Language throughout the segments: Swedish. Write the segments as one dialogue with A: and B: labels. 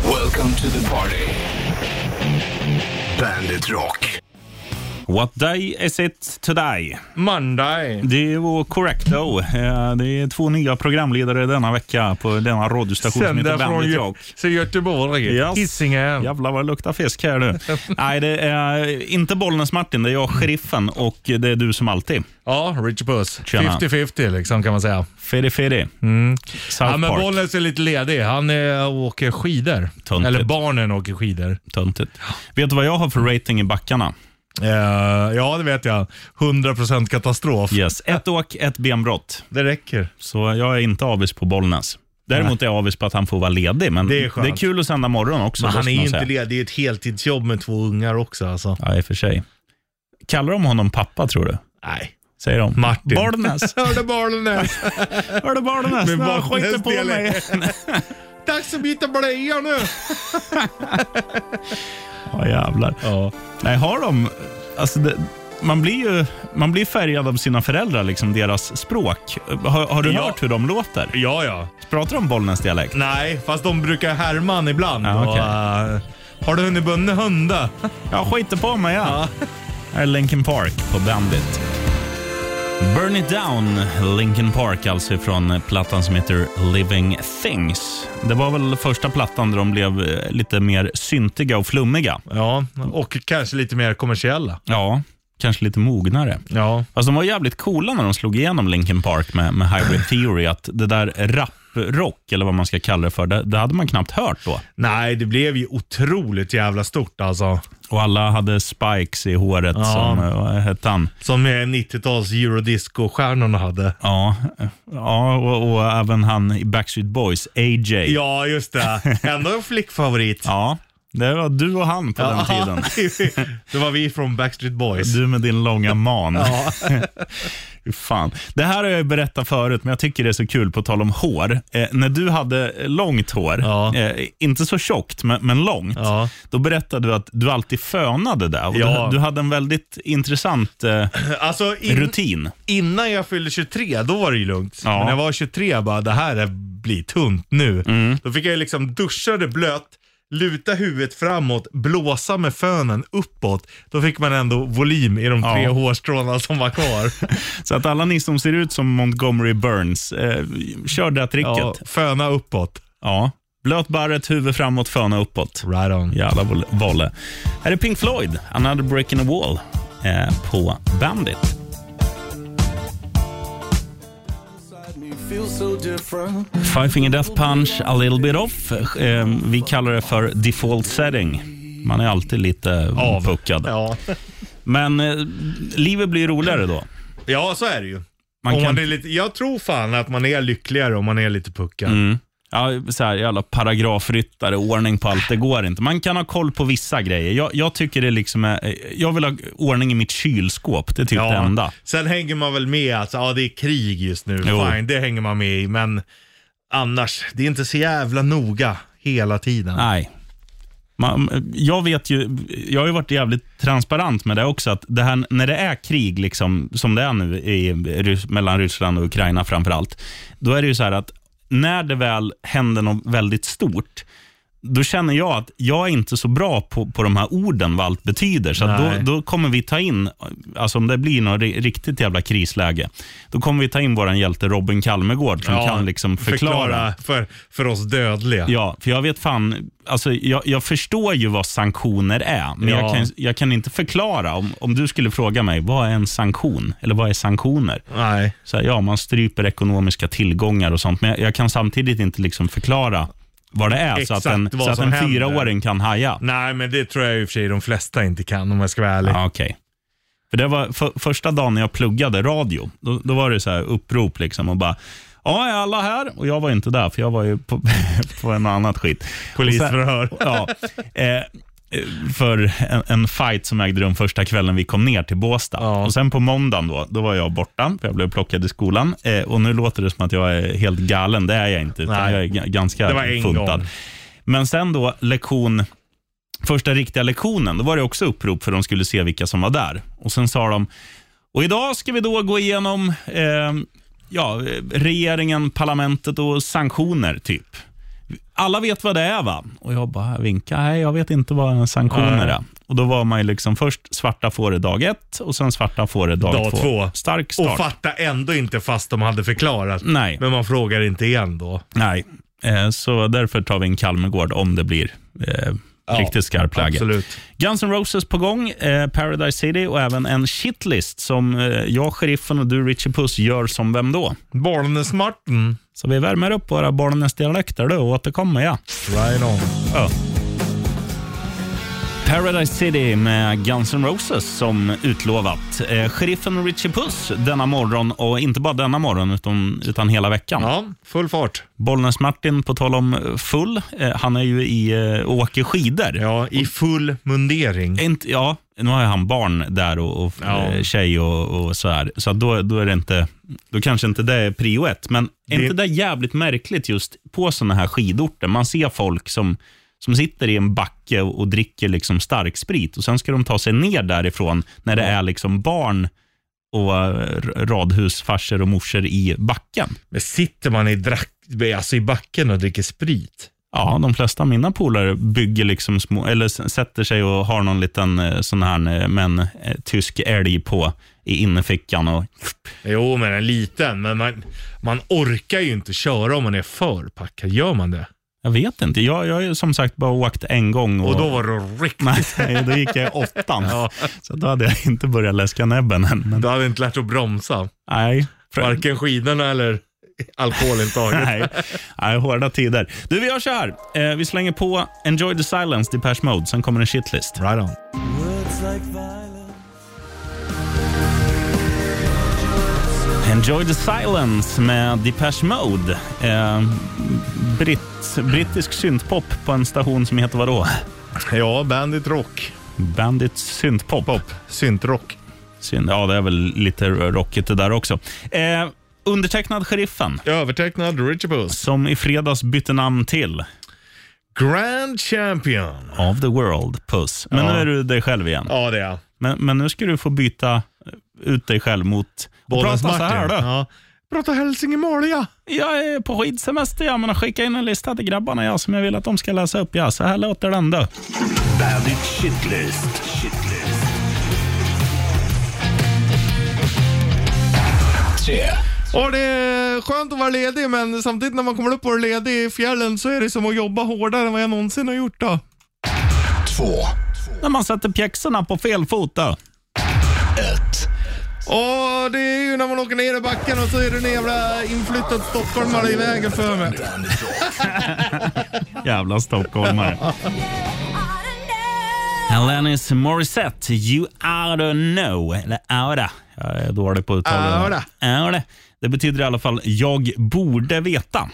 A: Welcome to the party. Bandit Rock.
B: What day is it today?
C: Monday.
B: Det var correcto. Eh, Det är två nya programledare denna vecka på denna radiostation som
C: Sända
B: heter
C: från
B: Bandit
C: Gö
B: Rock.
C: så Göteborg.
B: Yes.
C: Hisingen.
B: Jävlar vad det luktar fisk här nu. Nej, det är inte Bollnäs Martin, det är jag, sheriffen, och det är du som alltid.
C: Ja, Rich Buss.
B: Tjena.
C: 50-50 liksom kan man säga.
B: Fede Fede. South
C: Mm. Ja, men
B: Park.
C: Bollnäs är lite ledig. Han eh, åker skidor.
B: Töntigt.
C: Eller barnen åker skidor.
B: Töntigt. Vet du vad jag har för rating i backarna?
C: Eh, ja, det vet jag. 100% katastrof.
B: Yes. Ett åk, ett benbrott.
C: Det räcker.
B: Så jag är inte avis på Bollnäs. Däremot är jag avis på att han får vara ledig, men
C: Det är
B: det är,
C: skönt.
B: kul att sända morgon också.
C: Men
B: då
C: han
B: ska
C: är ju
B: man
C: inte
B: säga.
C: ledig. Det är ett heltidsjobb med två ungar också. Alltså.
B: Ja, i och för sig. Kallar de honom pappa, tror du?
C: Nej.
B: Säger de.
C: Martin.
B: Bollnäs.
C: Hörde Bollnäs.
B: Hörde Bollnäs?
C: Med
B: Ja,
C: Bollnäs
B: skiter på mig.
C: dialekt. Dags att byta blöja nu.
B: Ja, jävlar.
C: Ja.
B: Nej, har de... Alltså det, man blir ju man blir färgad av sina föräldrar, liksom deras språk. Har, har du
C: Ja.
B: hört hur de låter?
C: ja, ja.
B: Pratar de Bollnäs dialekt?
C: Nej, fast de brukar härma han ibland.
B: Ja, okej.
C: och, eh, har du hunnit bunne hunda?
B: Jag skiter på mig, ja. Här är Linkin Park på Bandit. Burn it down, Linkin Park, alltså från plattan som heter Living Things. Det var väl första plattan där de blev eh, lite mer syntiga och flummiga.
C: Ja, och kanske lite mer kommersiella.
B: Ja, kanske lite mognare.
C: Ja.
B: Alltså de var jävligt coola när de slog igenom Linkin Park med, med Hybrid Theory. Att det där rap-rock, eller vad man ska kalla det för, det, det hade man knappt hört då.
C: Nej, det blev ju otroligt jävla stort alltså.
B: Och alla hade spikes i håret som, eh, vad hette han?
C: Som eh, 90-tals eurodisco-stjärnorna hade.
B: Ja, eh, ja och, och även han i Backstreet Boys, AJ.
C: Ja, just det. Ändå en flickfavorit.
B: Ja, det var du och han på den tiden.
C: det var vi från Backstreet Boys.
B: Du med din långa man.
C: Ja.
B: Fy Fan. Det här har jag ju berättat förut, men jag tycker det är så kul, på tal om hår. Eh, när du hade långt hår,
C: Ja.
B: eh, inte så tjockt, men, men långt,
C: Ja.
B: då berättade du att du alltid fönade det. Och
C: Ja.
B: du, du hade en väldigt intressant eh,
C: Alltså, in,
B: rutin.
C: innan jag fyllde 23, då var det ju lugnt.
B: Ja.
C: Men när jag var 23, jag bara det här är, blir tunt nu.
B: Mm.
C: Då fick jag ju liksom duscha det blött, luta huvudet framåt, blåsa med fönen uppåt. Då fick man ändå volym i de tre
B: Ja.
C: hårstråna som var kvar.
B: Så att alla ni som ser ut som Montgomery Burns, eh, kör det här tricket.
C: ja,
B: Ja.
C: föna uppåt.
B: Blöt barret, huvud framåt, föna uppåt.
C: Right on.
B: Jävla vol- volle. Här är Pink Floyd, Another Break in a Wall, eh, på Bandit.
A: Feel so different.
B: Five Finger Death Punch, A Little Bit Off. Eh, vi kallar det för default setting. Man är alltid lite
C: Av.
B: puckad.
C: Ja.
B: Men eh, livet blir roligare då.
C: ja, så är det ju.
B: Man
C: om
B: kan-
C: man är lite, jag tror fan att man är lyckligare om man är lite puckad.
B: Ja, så här, jävla paragrafryttare, ordning på allt. Det går inte. Man kan ha koll på vissa grejer. Jag, jag tycker det liksom är, jag vill ha ordning i mitt kylskåp. Det är typ det enda.
C: Sen hänger man väl med att ja, det är krig just nu.
B: Jo.
C: Fine, det hänger man med i. Men annars, det är inte så jävla noga hela tiden.
B: Nej. Man, jag vet ju, jag har ju varit jävligt transparent med det också, att det här, när det är krig, liksom, som det är nu i, Rys- mellan Ryssland och Ukraina framför allt, då är det ju så här att när det väl händer något väldigt stort, då känner jag att jag är inte så bra på, på de här orden, vad allt betyder. Så att
C: Nej.
B: då, då kommer vi ta in, alltså om det blir något ri- riktigt jävla krisläge, då kommer vi ta in vår hjälte Robin Kalmegård som
C: Ja,
B: kan liksom förklara
C: för, för oss dödliga.
B: Ja, för jag vet fan, alltså jag, jag förstår ju vad sanktioner är, men jag,
C: Ja.
B: kan, jag kan inte förklara. Om, om du skulle fråga mig, vad är en sanktion? Eller vad är sanktioner?
C: Nej.
B: Så här, ja, man stryper ekonomiska tillgångar och sånt, men jag, jag kan samtidigt inte liksom förklara vad det är, så att en,
C: Exakt vad
B: så att
C: som
B: en
C: händer.
B: fyraåring kan haja.
C: Nej, men det tror jag i och för sig de flesta inte kan om jag ska vara ärlig.
B: Ja, okej. För det var för, första dagen när jag pluggade radio. Då, då var det så här upprop liksom och bara, ja, är alla här? Och jag var inte där, för jag var ju på, på en annat skit.
C: Polisförhör.
B: Och sen- Ja. Eh, för en, en fight som ägde rum första kvällen vi kom ner till Båstad.
C: Ja.
B: Och sen på måndagen då, då var jag borta, för jag blev plockad i skolan. Eh, och nu låter det som att jag är helt galen, det är jag inte. Utan
C: Nej.
B: jag är g- ganska
C: Det var en
B: funtad.
C: gång.
B: Men sen då lektion första riktiga lektionen, då var det också upprop för de skulle se vilka som var där. Och Sen sa de, och idag ska vi då gå igenom eh, ja, eh, regeringen, parlamentet och sanktioner, typ. alla vet vad det är va? Och jag bara vinka, nej jag vet inte vad sanktioner är. Och då var man ju liksom först svarta fåre dag ett och sen svarta fåre dag,
C: Dag
B: två.
C: två.
B: Stark start.
C: Och fatta ändå inte fast de hade förklarat.
B: Nej.
C: Men man frågar inte igen då.
B: Nej, eh, så därför tar vi en Kalmegård om det blir eh, riktigt skarp flagga.
C: Absolut.
B: Guns N' Roses på gång, eh, Paradise City och även en shitlist som eh, jag, sheriffen och du, Richie Puss, gör som vem då?
C: Barnes-Martin.
B: Så vi värmer upp våra barnens dialekter då och återkommer ja.
C: Right on.
B: Paradise City med Guns N' Roses som utlovat. Eh, sheriffen och Richie Puss denna morgon och inte bara denna morgon utan, utan hela veckan.
C: Ja, full fart.
B: Bollnäs-Martin, på tal om eh, full, eh, han är ju i eh, och åker skidor.
C: Ja, i full mundering.
B: Inte, ja, nu har ju han barn där och, och
C: Mm. Ja.
B: eh, tjej och, och så här. Så att då, då är det inte, då kanske inte det är prio ett. Men är
C: Det-
B: inte det jävligt märkligt just på sådana här skidorter? Man ser folk som, som sitter i en backe och, och dricker liksom stark sprit och sen ska de ta sig ner därifrån när det är liksom barn och eh, r- radhusfarsor och morsor i backen.
C: Men sitter man i, drack, alltså i backen och dricker sprit?
B: Ja, de flesta av mina polare bygger liksom små, eller s- sätter sig och har någon liten eh, sån här, eh, men eh, tysk älg på i innerfickan och
C: Jo, men en liten. Men man, man orkar ju inte köra om man är för packad. Gör man det?
B: jag vet inte. Jag, jag har ju som sagt bara åkt en gång och,
C: Och då var det riktigt...
B: nej, då gick jag i åttan. Så då hade jag inte börjat läska näbben än. Men,
C: Du hade inte lärt att bromsa.
B: nej. För,
C: Varken skidorna eller alkoholintaget.
B: nej, nej, hårda tider. Du, vi gör så här. Eh, vi slänger på Enjoy the Silence, Depeche Mode. Sen kommer en shitlist.
C: right on.
A: Words like violence.
B: Enjoy the silence med Depeche Mode. Eh, britt, brittisk syntpop på en station som heter vadå?
C: Ja, Bandit Rock.
B: Bandit syntpop.
C: Pop. Syntrock.
B: Synt, ja, det är väl lite rockigt det där också. Eh, undertecknad Sheriffen,
C: Övertecknad Richard Puss.
B: som i fredags bytte namn till
C: Grand Champion.
B: Of the World Puss. Men
C: Ja.
B: nu är du dig själv igen.
C: Ja, det är jag.
B: Men, men nu ska du få byta eh, ut dig själv mot... och Prata
C: Bollens
B: så här då.
C: Martin. Ja. Prata hälsingemåliga.
B: Jag är på skidsemester, ja, men har skickat in en lista till grabbarna ja, som jag vill att de ska läsa upp. Ja, så här låter den då.
A: Bandit shitlist. Shitlist. Tre.
C: Och det är skönt att vara ledig, men samtidigt när man kommer upp och är ledig i fjällen så är det som att jobba hårdare än vad jag någonsin har gjort. Då.
A: Två.
B: När man sätter pjäxorna på fel fot då.
A: Ett.
C: Och det är ju när man åker ner i backen och så är det en jävla inflyttad stockholmare i vägen för mig.
A: Bandit rock.
B: Jävla stockholmare. Alanis Morissette, You Oughta Know. Eller Aura. Jag är dålig på att uttala
C: Oughta.
B: det. Oughta. Det betyder i alla fall jag borde veta.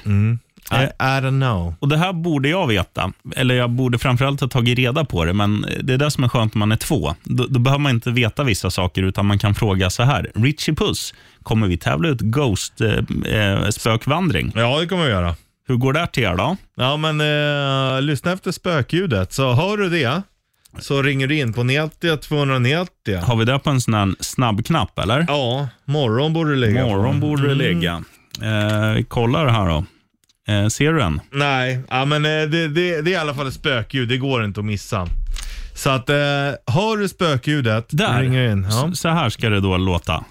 C: I, I don't know.
B: Och Det här borde jag veta. Eller jag borde framförallt ha tagit reda på det, men det är det som är skönt när man är två. Då, då behöver man inte veta vissa saker, utan man kan fråga så här. Richie Puss, kommer vi tävla ut Ghost-spökvandring?
C: Ja, det kommer vi göra.
B: Hur går det här till er då?
C: Ja, men eh, lyssna efter spökljudet. Så hör du det så ringer du in på 90 290.
B: Har vi det på en sån här snabbknapp eller?
C: Ja, morgon borde du ligga på.
B: Morgon borde
C: Mm.
B: det ligga. Eh, vi kollar här då. Eh, ser du den?
C: Nej, ja, men eh, det, det, det är i alla fall ett spökljud. Det går inte att missa. Så att, eh, hör du spökljudet,
B: Där.
C: ringer in. Ja.
B: S- Så här ska det då låta.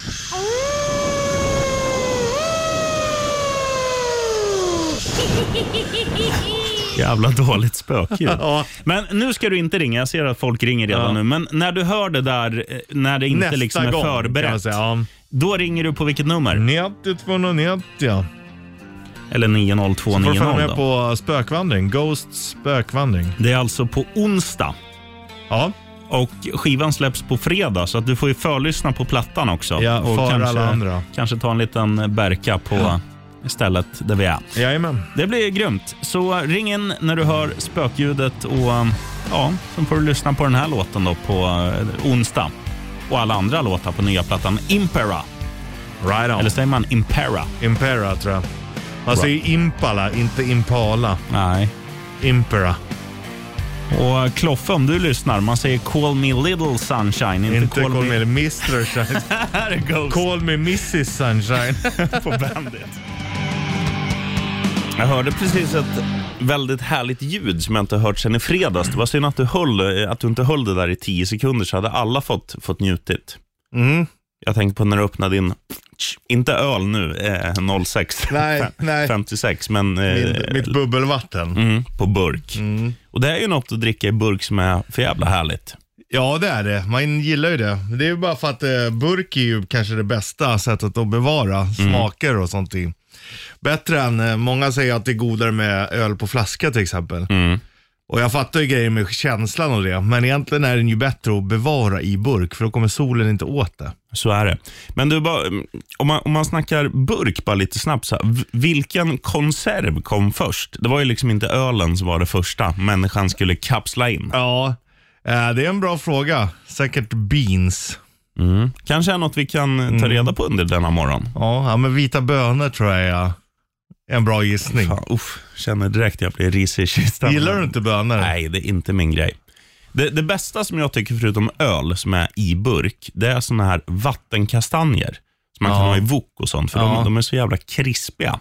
B: Jävla dåligt spökljud.
C: Ja.
B: Men nu ska du inte ringa. Jag ser att folk ringer redan
C: Ja.
B: nu. Men när du hör det där, eh, när det inte
C: Nästa
B: liksom är
C: gång kan man
B: förberett,
C: säga. Ja. Mm.
B: då ringer du på vilket nummer?
C: 90 290.
B: Eller
C: Får du följa
B: 90290
C: med
B: då.
C: på spökvandring. Ghost spökvandring.
B: Det är alltså på onsdag.
C: Ja,
B: Och skivan släpps på fredag, så att du får ju förlyssna på plattan också.
C: Ja,
B: och
C: för alla andra.
B: kanske ta en liten berka på stället där vi är.
C: jajamän.
B: Det blir grymt. Så ring in när du hör spökljudet och ja, så får du lyssna på den här låten då på eh, onsdag. Och alla andra låtar på nya plattan Impera.
C: Right on.
B: Eller säger man Impera?
C: Impera tror jag. Man säger impala, inte impala.
B: Nej.
C: Impera.
B: Och Kloffe, om du lyssnar, man säger Call Me Little Sunshine, inte,
C: Inte call me Mr. Sunshine.
B: Här är Ghost.
C: call me Mrs. Sunshine.
B: på bandet. Jag hörde precis ett väldigt härligt ljud som jag inte har hört sedan i fredags. Det var synd att du, höll, eh, att du inte höll det där i tio sekunder så hade alla fått, fått njutit.
C: Mm.
B: Jag tänker på när du öppnade din, inte öl nu, eh, 06,
C: Nej, nej.
B: 56, men eh,
C: Min, mitt Mm. bubbelvatten.
B: mm, på burk. Och Det är ju något att dricka i burk som är för jävla härligt.
C: Ja, det är det. Man gillar ju det. Det är ju bara för att eh, burk är ju kanske det bästa sättet att bevara smaker och sånt i. Bättre än, eh, många säger att det är godare med öl på flaska till exempel. Och jag fattar ju grejer med känslan och det, men egentligen är den ju bättre att bevara i burk för då kommer solen inte åt det.
B: Så är det. Men du, bara, mm, om, man, om man snackar burk bara lite snabbt. Så här, v- vilken konserv kom först? Det var ju liksom inte ölen som var det första människan skulle kapsla in.
C: Ja, eh, det är en bra fråga. Säkert beans.
B: Mm. Kanske är något vi kan eh,
C: Mm.
B: ta reda på under denna morgon.
C: Ja, ja men vita bönor tror jag är en bra gissning.
B: Fan, uff, känner direkt jag blir risig i kistan.
C: Gillar du inte bönor?
B: Nej, det är inte min grej. Det, det bästa som jag tycker, förutom öl som är i burk, det är såna här vattenkastanjer. Som man kan ha i wok och sånt, för de, de är så jävla krispiga.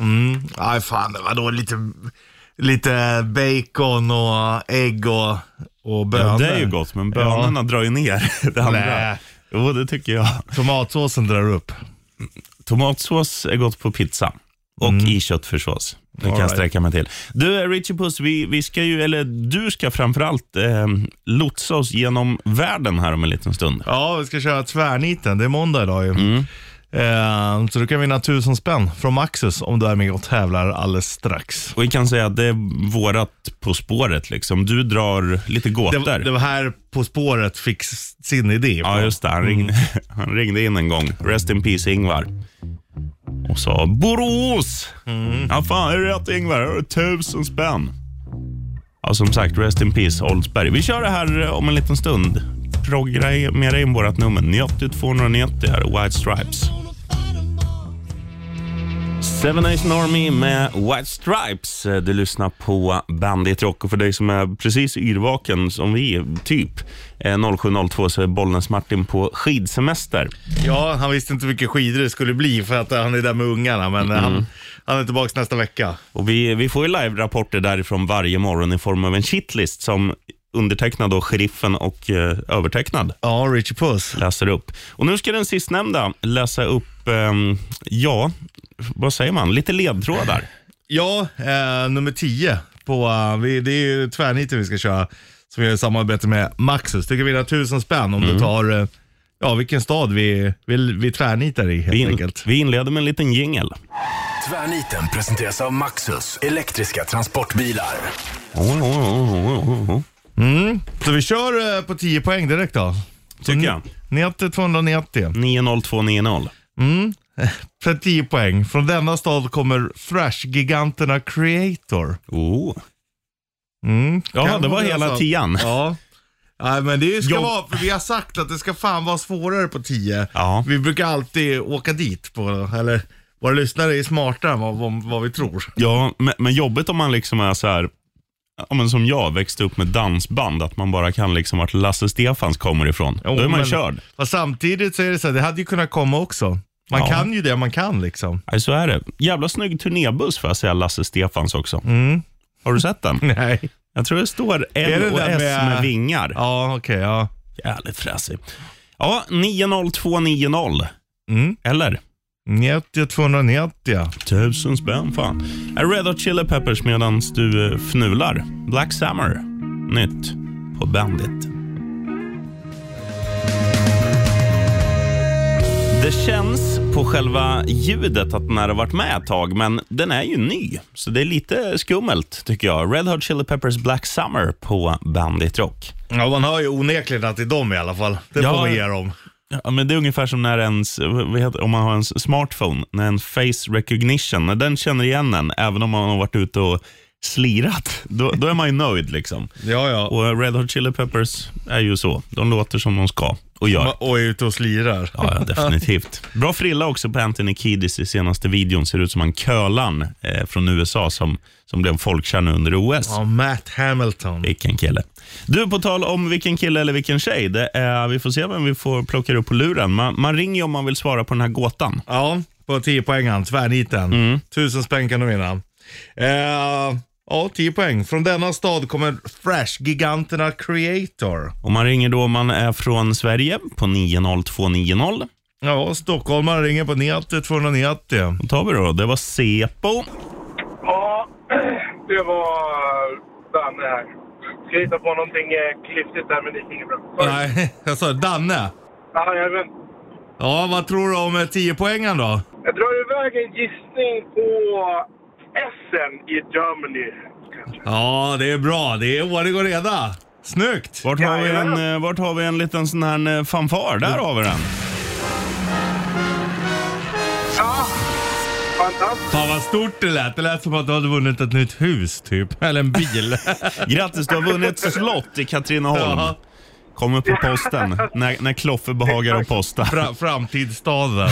C: Mm. Aj, fan, vadå lite, lite bacon och ägg och, och bönor?
B: Ja, det är ju gott, men bönorna drar ju ner det andra.
C: Nä.
B: Jo, det tycker jag.
C: Tomatsåsen drar upp.
B: Tomatsås är gott på pizza och
C: Mm.
B: i köttfärssås. Det kan jag
C: All right.
B: sträcka mig till. Du, eh, Richie Puss, vi, vi ska ju, eller du ska framförallt eh, lotsa oss genom världen här om en liten stund.
C: Ja, vi ska köra tvärniten. Det är måndag idag ju.
B: Mm.
C: Eh, så du kan vinna tusen spänn från Maxus om du är med och tävlar alldeles strax.
B: Och vi kan säga att det är vårat På spåret. liksom. Du drar lite
C: Det,
B: gåtor.
C: var- det var här På spåret fick s- sin idé.
B: Ja, just det. Han ringde, han ringde in en gång. Rest in peace, Ingvar. Och sa Borås! Ja, fan, är det rätt Ingvar? Har du Tusen spänn. Ja, som sagt, rest in peace, Oldsberg. Vi kör det här eh, om en liten stund. Programmera in vårt nummer. 90 290 här, White Stripes. Seven Nation Army med White Stripes. Eh, Du lyssnar på Bandit Rock och för dig som är precis yrvaken som vi, typ eh, 07.02 så är Bollnäs-Martin på skidsemester.
C: Ja, han visste inte vilka skidor det skulle bli för att eh, han är där med ungarna, men
B: Mm.
C: eh, han, han är tillbaka nästa vecka.
B: Och vi, vi får ju live-rapporter därifrån varje morgon i form av en shitlist som undertecknad och sheriffen och eh, övertecknad
C: Ja, Richie Puss.
B: läser upp. Och nu ska den sistnämnda läsa upp, ehm, ja, vad säger man, lite ledtrådar.
C: Ja, eh, nummer 10. På, eh, vi, det är ju tvärniten vi ska köra. Som vi gör i samarbete med Maxus. Du kan vinna tusen spänn om du
B: Mm.
C: tar, eh, ja vilken stad vi, vi, vi tvärnitar i helt
B: Vi, in,
C: enkelt.
B: vi inleder med en liten jingel.
A: Tvärniten presenteras av Maxus elektriska transportbilar.
B: Oh, oh, oh, oh, oh,
C: Mm.
B: oh.
C: Så vi kör eh, på 10 poäng direkt då.
B: Tycker jag.
C: 90 290.
B: 90290.
C: För 10 poäng. Från denna stad kommer Thrash-giganterna Creator.
B: Oh.
C: Mm.
B: Ja,
C: Kan
B: det var
C: vara
B: hela
C: så.
B: tian.
C: Ja. Nej, men det ska
B: Jag-
C: vara, för vi har sagt att det ska fan vara svårare på 10.
B: Ja.
C: Vi brukar alltid åka dit på, eller våra lyssnare är smartare än vad, vad, vad vi tror.
B: Ja, men, men jobbigt om man liksom är så här, ja, men som jag växte upp med dansband, att man bara kan liksom vart Lasse Stefans kommer ifrån.
C: Jo,
B: Då är man
C: men-
B: körd.
C: Fast samtidigt så är det så här, det hade ju kunnat komma också. Man
B: Ja.
C: kan ju det man kan liksom.
B: Nej, så är det. Jävla snygg turnébuss får jag säga, Lasse Stefans också. Har du sett den?
C: Nej.
B: Jag tror det står
C: Mm. Är
B: L
C: det
B: och
C: den
B: S med,
C: med-
B: vingar.
C: Ja, okej, ja.
B: Jävligt fräsig. Ja, 90290.
C: Mm.
B: Eller?
C: 90 290.
B: Tusen spänn fan. Är Red Hot Chili Peppers medan du eh, fnular. Black Summer. Nytt på Bandit. Det känns på själva ljudet att den här har varit med ett tag, men den är ju ny. Så det är lite skummelt tycker jag. Red Hot Chili Peppers Black Summer på Bandit Rock.
C: Ja, man hör ju onekligen att det är dem i alla fall. Det
B: Ja.
C: får man ge dem.
B: Ja, men det är ungefär som när ens, vad heter, om man har en smartphone, när en face recognition, när den känner igen en, även om man har varit ute och slirat, då, då är man ju nöjd. liksom.
C: Ja, ja.
B: Och Red Hot Chili Peppers är ju så. De låter som de ska och gör.
C: Och, och är ute och slirar.
B: Ja, ja, definitivt. Bra frilla också på Anthony Kiedis i senaste videon. Ser ut som han kölan eh, från USA som, som blev folkkär nu under OS.
C: Ja, Matt Hamilton.
B: Vilken kille. Du, på tal om vilken kille eller vilken tjej. Det är, vi får se vem vi får plocka upp på luren. Man, man ringer ju om man vill svara på den här gåtan.
C: Mm. Ja, på 10 poängen, tvärniten. Tusen spänn kan du vinna. Eh, Ja, 10 poäng. Från denna stad kommer Thrash-giganterna Creator.
B: Om man ringer då om man är från Sverige på 90290.
C: Ja, stockholmare ringer på 90 290.
B: Då tar vi då. Det var Sepo.
D: Ja, det var Danne här. Ska hitta på någonting eh, klyftigt där, men det gick inget bra. Sorry.
C: Nej, jag sa Danne.
D: Ja, jag, vet.
C: Ja, vad tror du om 10 poängen då?
D: jag drar iväg en gissning på Essen i Germany. kanske.
C: Ja, det är bra. Det är ordning och reda. Snyggt!
B: Vart har, vi en, eh, vart har vi en liten sån här eh, fanfar? Där har vi den.
D: Ja, fantastiskt.
C: Fan vad stort det lät. Det lät som att du hade vunnit ett nytt hus typ. Eller en bil.
B: Grattis, du har vunnit ett slott i Katrineholm.
C: Ja.
B: Kom upp på posten när, när Kloffe behagar att posta.
C: Fra- framtidsstaden.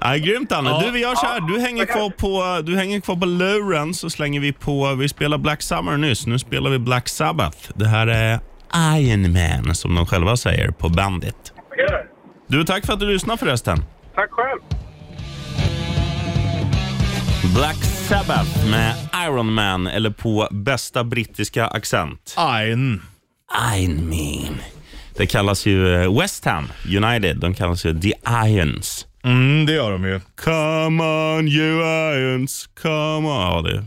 B: Ja, grymt Danne.
C: Ja.
B: Du, vi gör så här. Du hänger kvar på, du hänger kvar på luren så slänger vi på, vi spelar Black Summer nyss. Nu spelar vi Black Sabbath. Det här är Iron Man som de själva säger på bandet.
D: Ja,
B: Du, tack för att du lyssnade förresten.
D: Tack själv.
B: Black Sabbath med Iron Man, eller på bästa brittiska accent.
C: Ein.
B: Iron Man. Det kallas ju eh, West Ham United. De kallas ju The Irons.
C: Mm, det gör de ju.
B: Come on you Irons, come on. Ja, det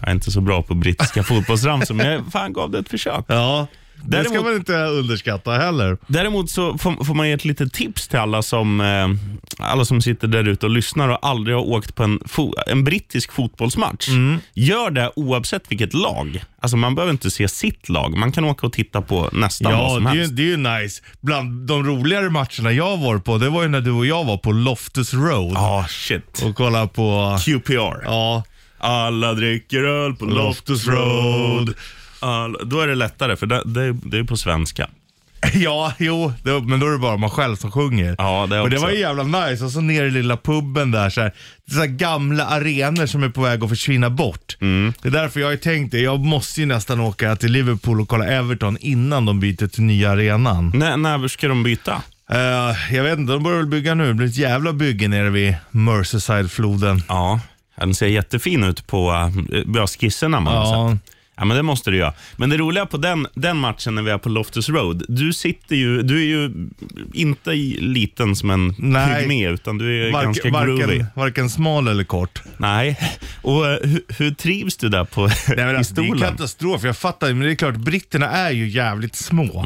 B: jag är inte så bra på brittiska fotbollsramsor, men jag fan gav det ett försök.
C: Ja. Det ska
B: Däremot-
C: man inte underskatta heller.
B: Däremot så får, får man ge ett litet tips till alla som, eh, alla som sitter där ute och lyssnar och aldrig har åkt på en, fo- en brittisk fotbollsmatch.
C: Mm.
B: Gör det oavsett vilket lag. Alltså man behöver inte se sitt lag. Man kan åka och titta på nästan vad
C: Ja,
B: som
C: det är, ju,
B: helst.
C: det är ju nice. Bland de roligare matcherna jag var på, det var ju när du och jag var på Loftus Road
B: Ja, Ah, shit.
C: och kollade på...
B: QPR.
C: Ja,
B: Alla dricker öl på Loftus Road. Alla, då är det lättare, för det, det, det är på svenska.
C: ja jo, det, men då är det bara man själv som sjunger.
B: Ja, det
C: och det
B: också.
C: var ju jävla nice. Och så ner i lilla puben där, så här, det är så här gamla arenor som är på väg att försvinna bort.
B: Mm.
C: Det är därför jag har ju tänkt det. Jag måste ju nästan åka till Liverpool och kolla Everton innan de byter till nya arenan.
B: När, när ska de byta?
C: Eh, jag vet inte, de börjar väl bygga nu. Det blir ett jävla bygge nere vid Merseyside-floden.
B: Ja, den ser jättefin ut på eh, ja, skisserna man har
C: Ja.
B: sett. Ja, men det måste du göra. Men det roliga på den, den matchen när vi är på Loftus Road, du sitter ju, du är ju inte i- liten som en
C: Nej.
B: pygmé, utan du är
C: Varken-
B: ganska groovy.
C: varken, varken smal eller kort.
B: Nej. Och eh, hur, hur trivs du där på,
C: Nej, men
B: i
C: alltså, det är
B: stolen?
C: katastrof, jag fattar. Men det är klart, britterna är ju jävligt små.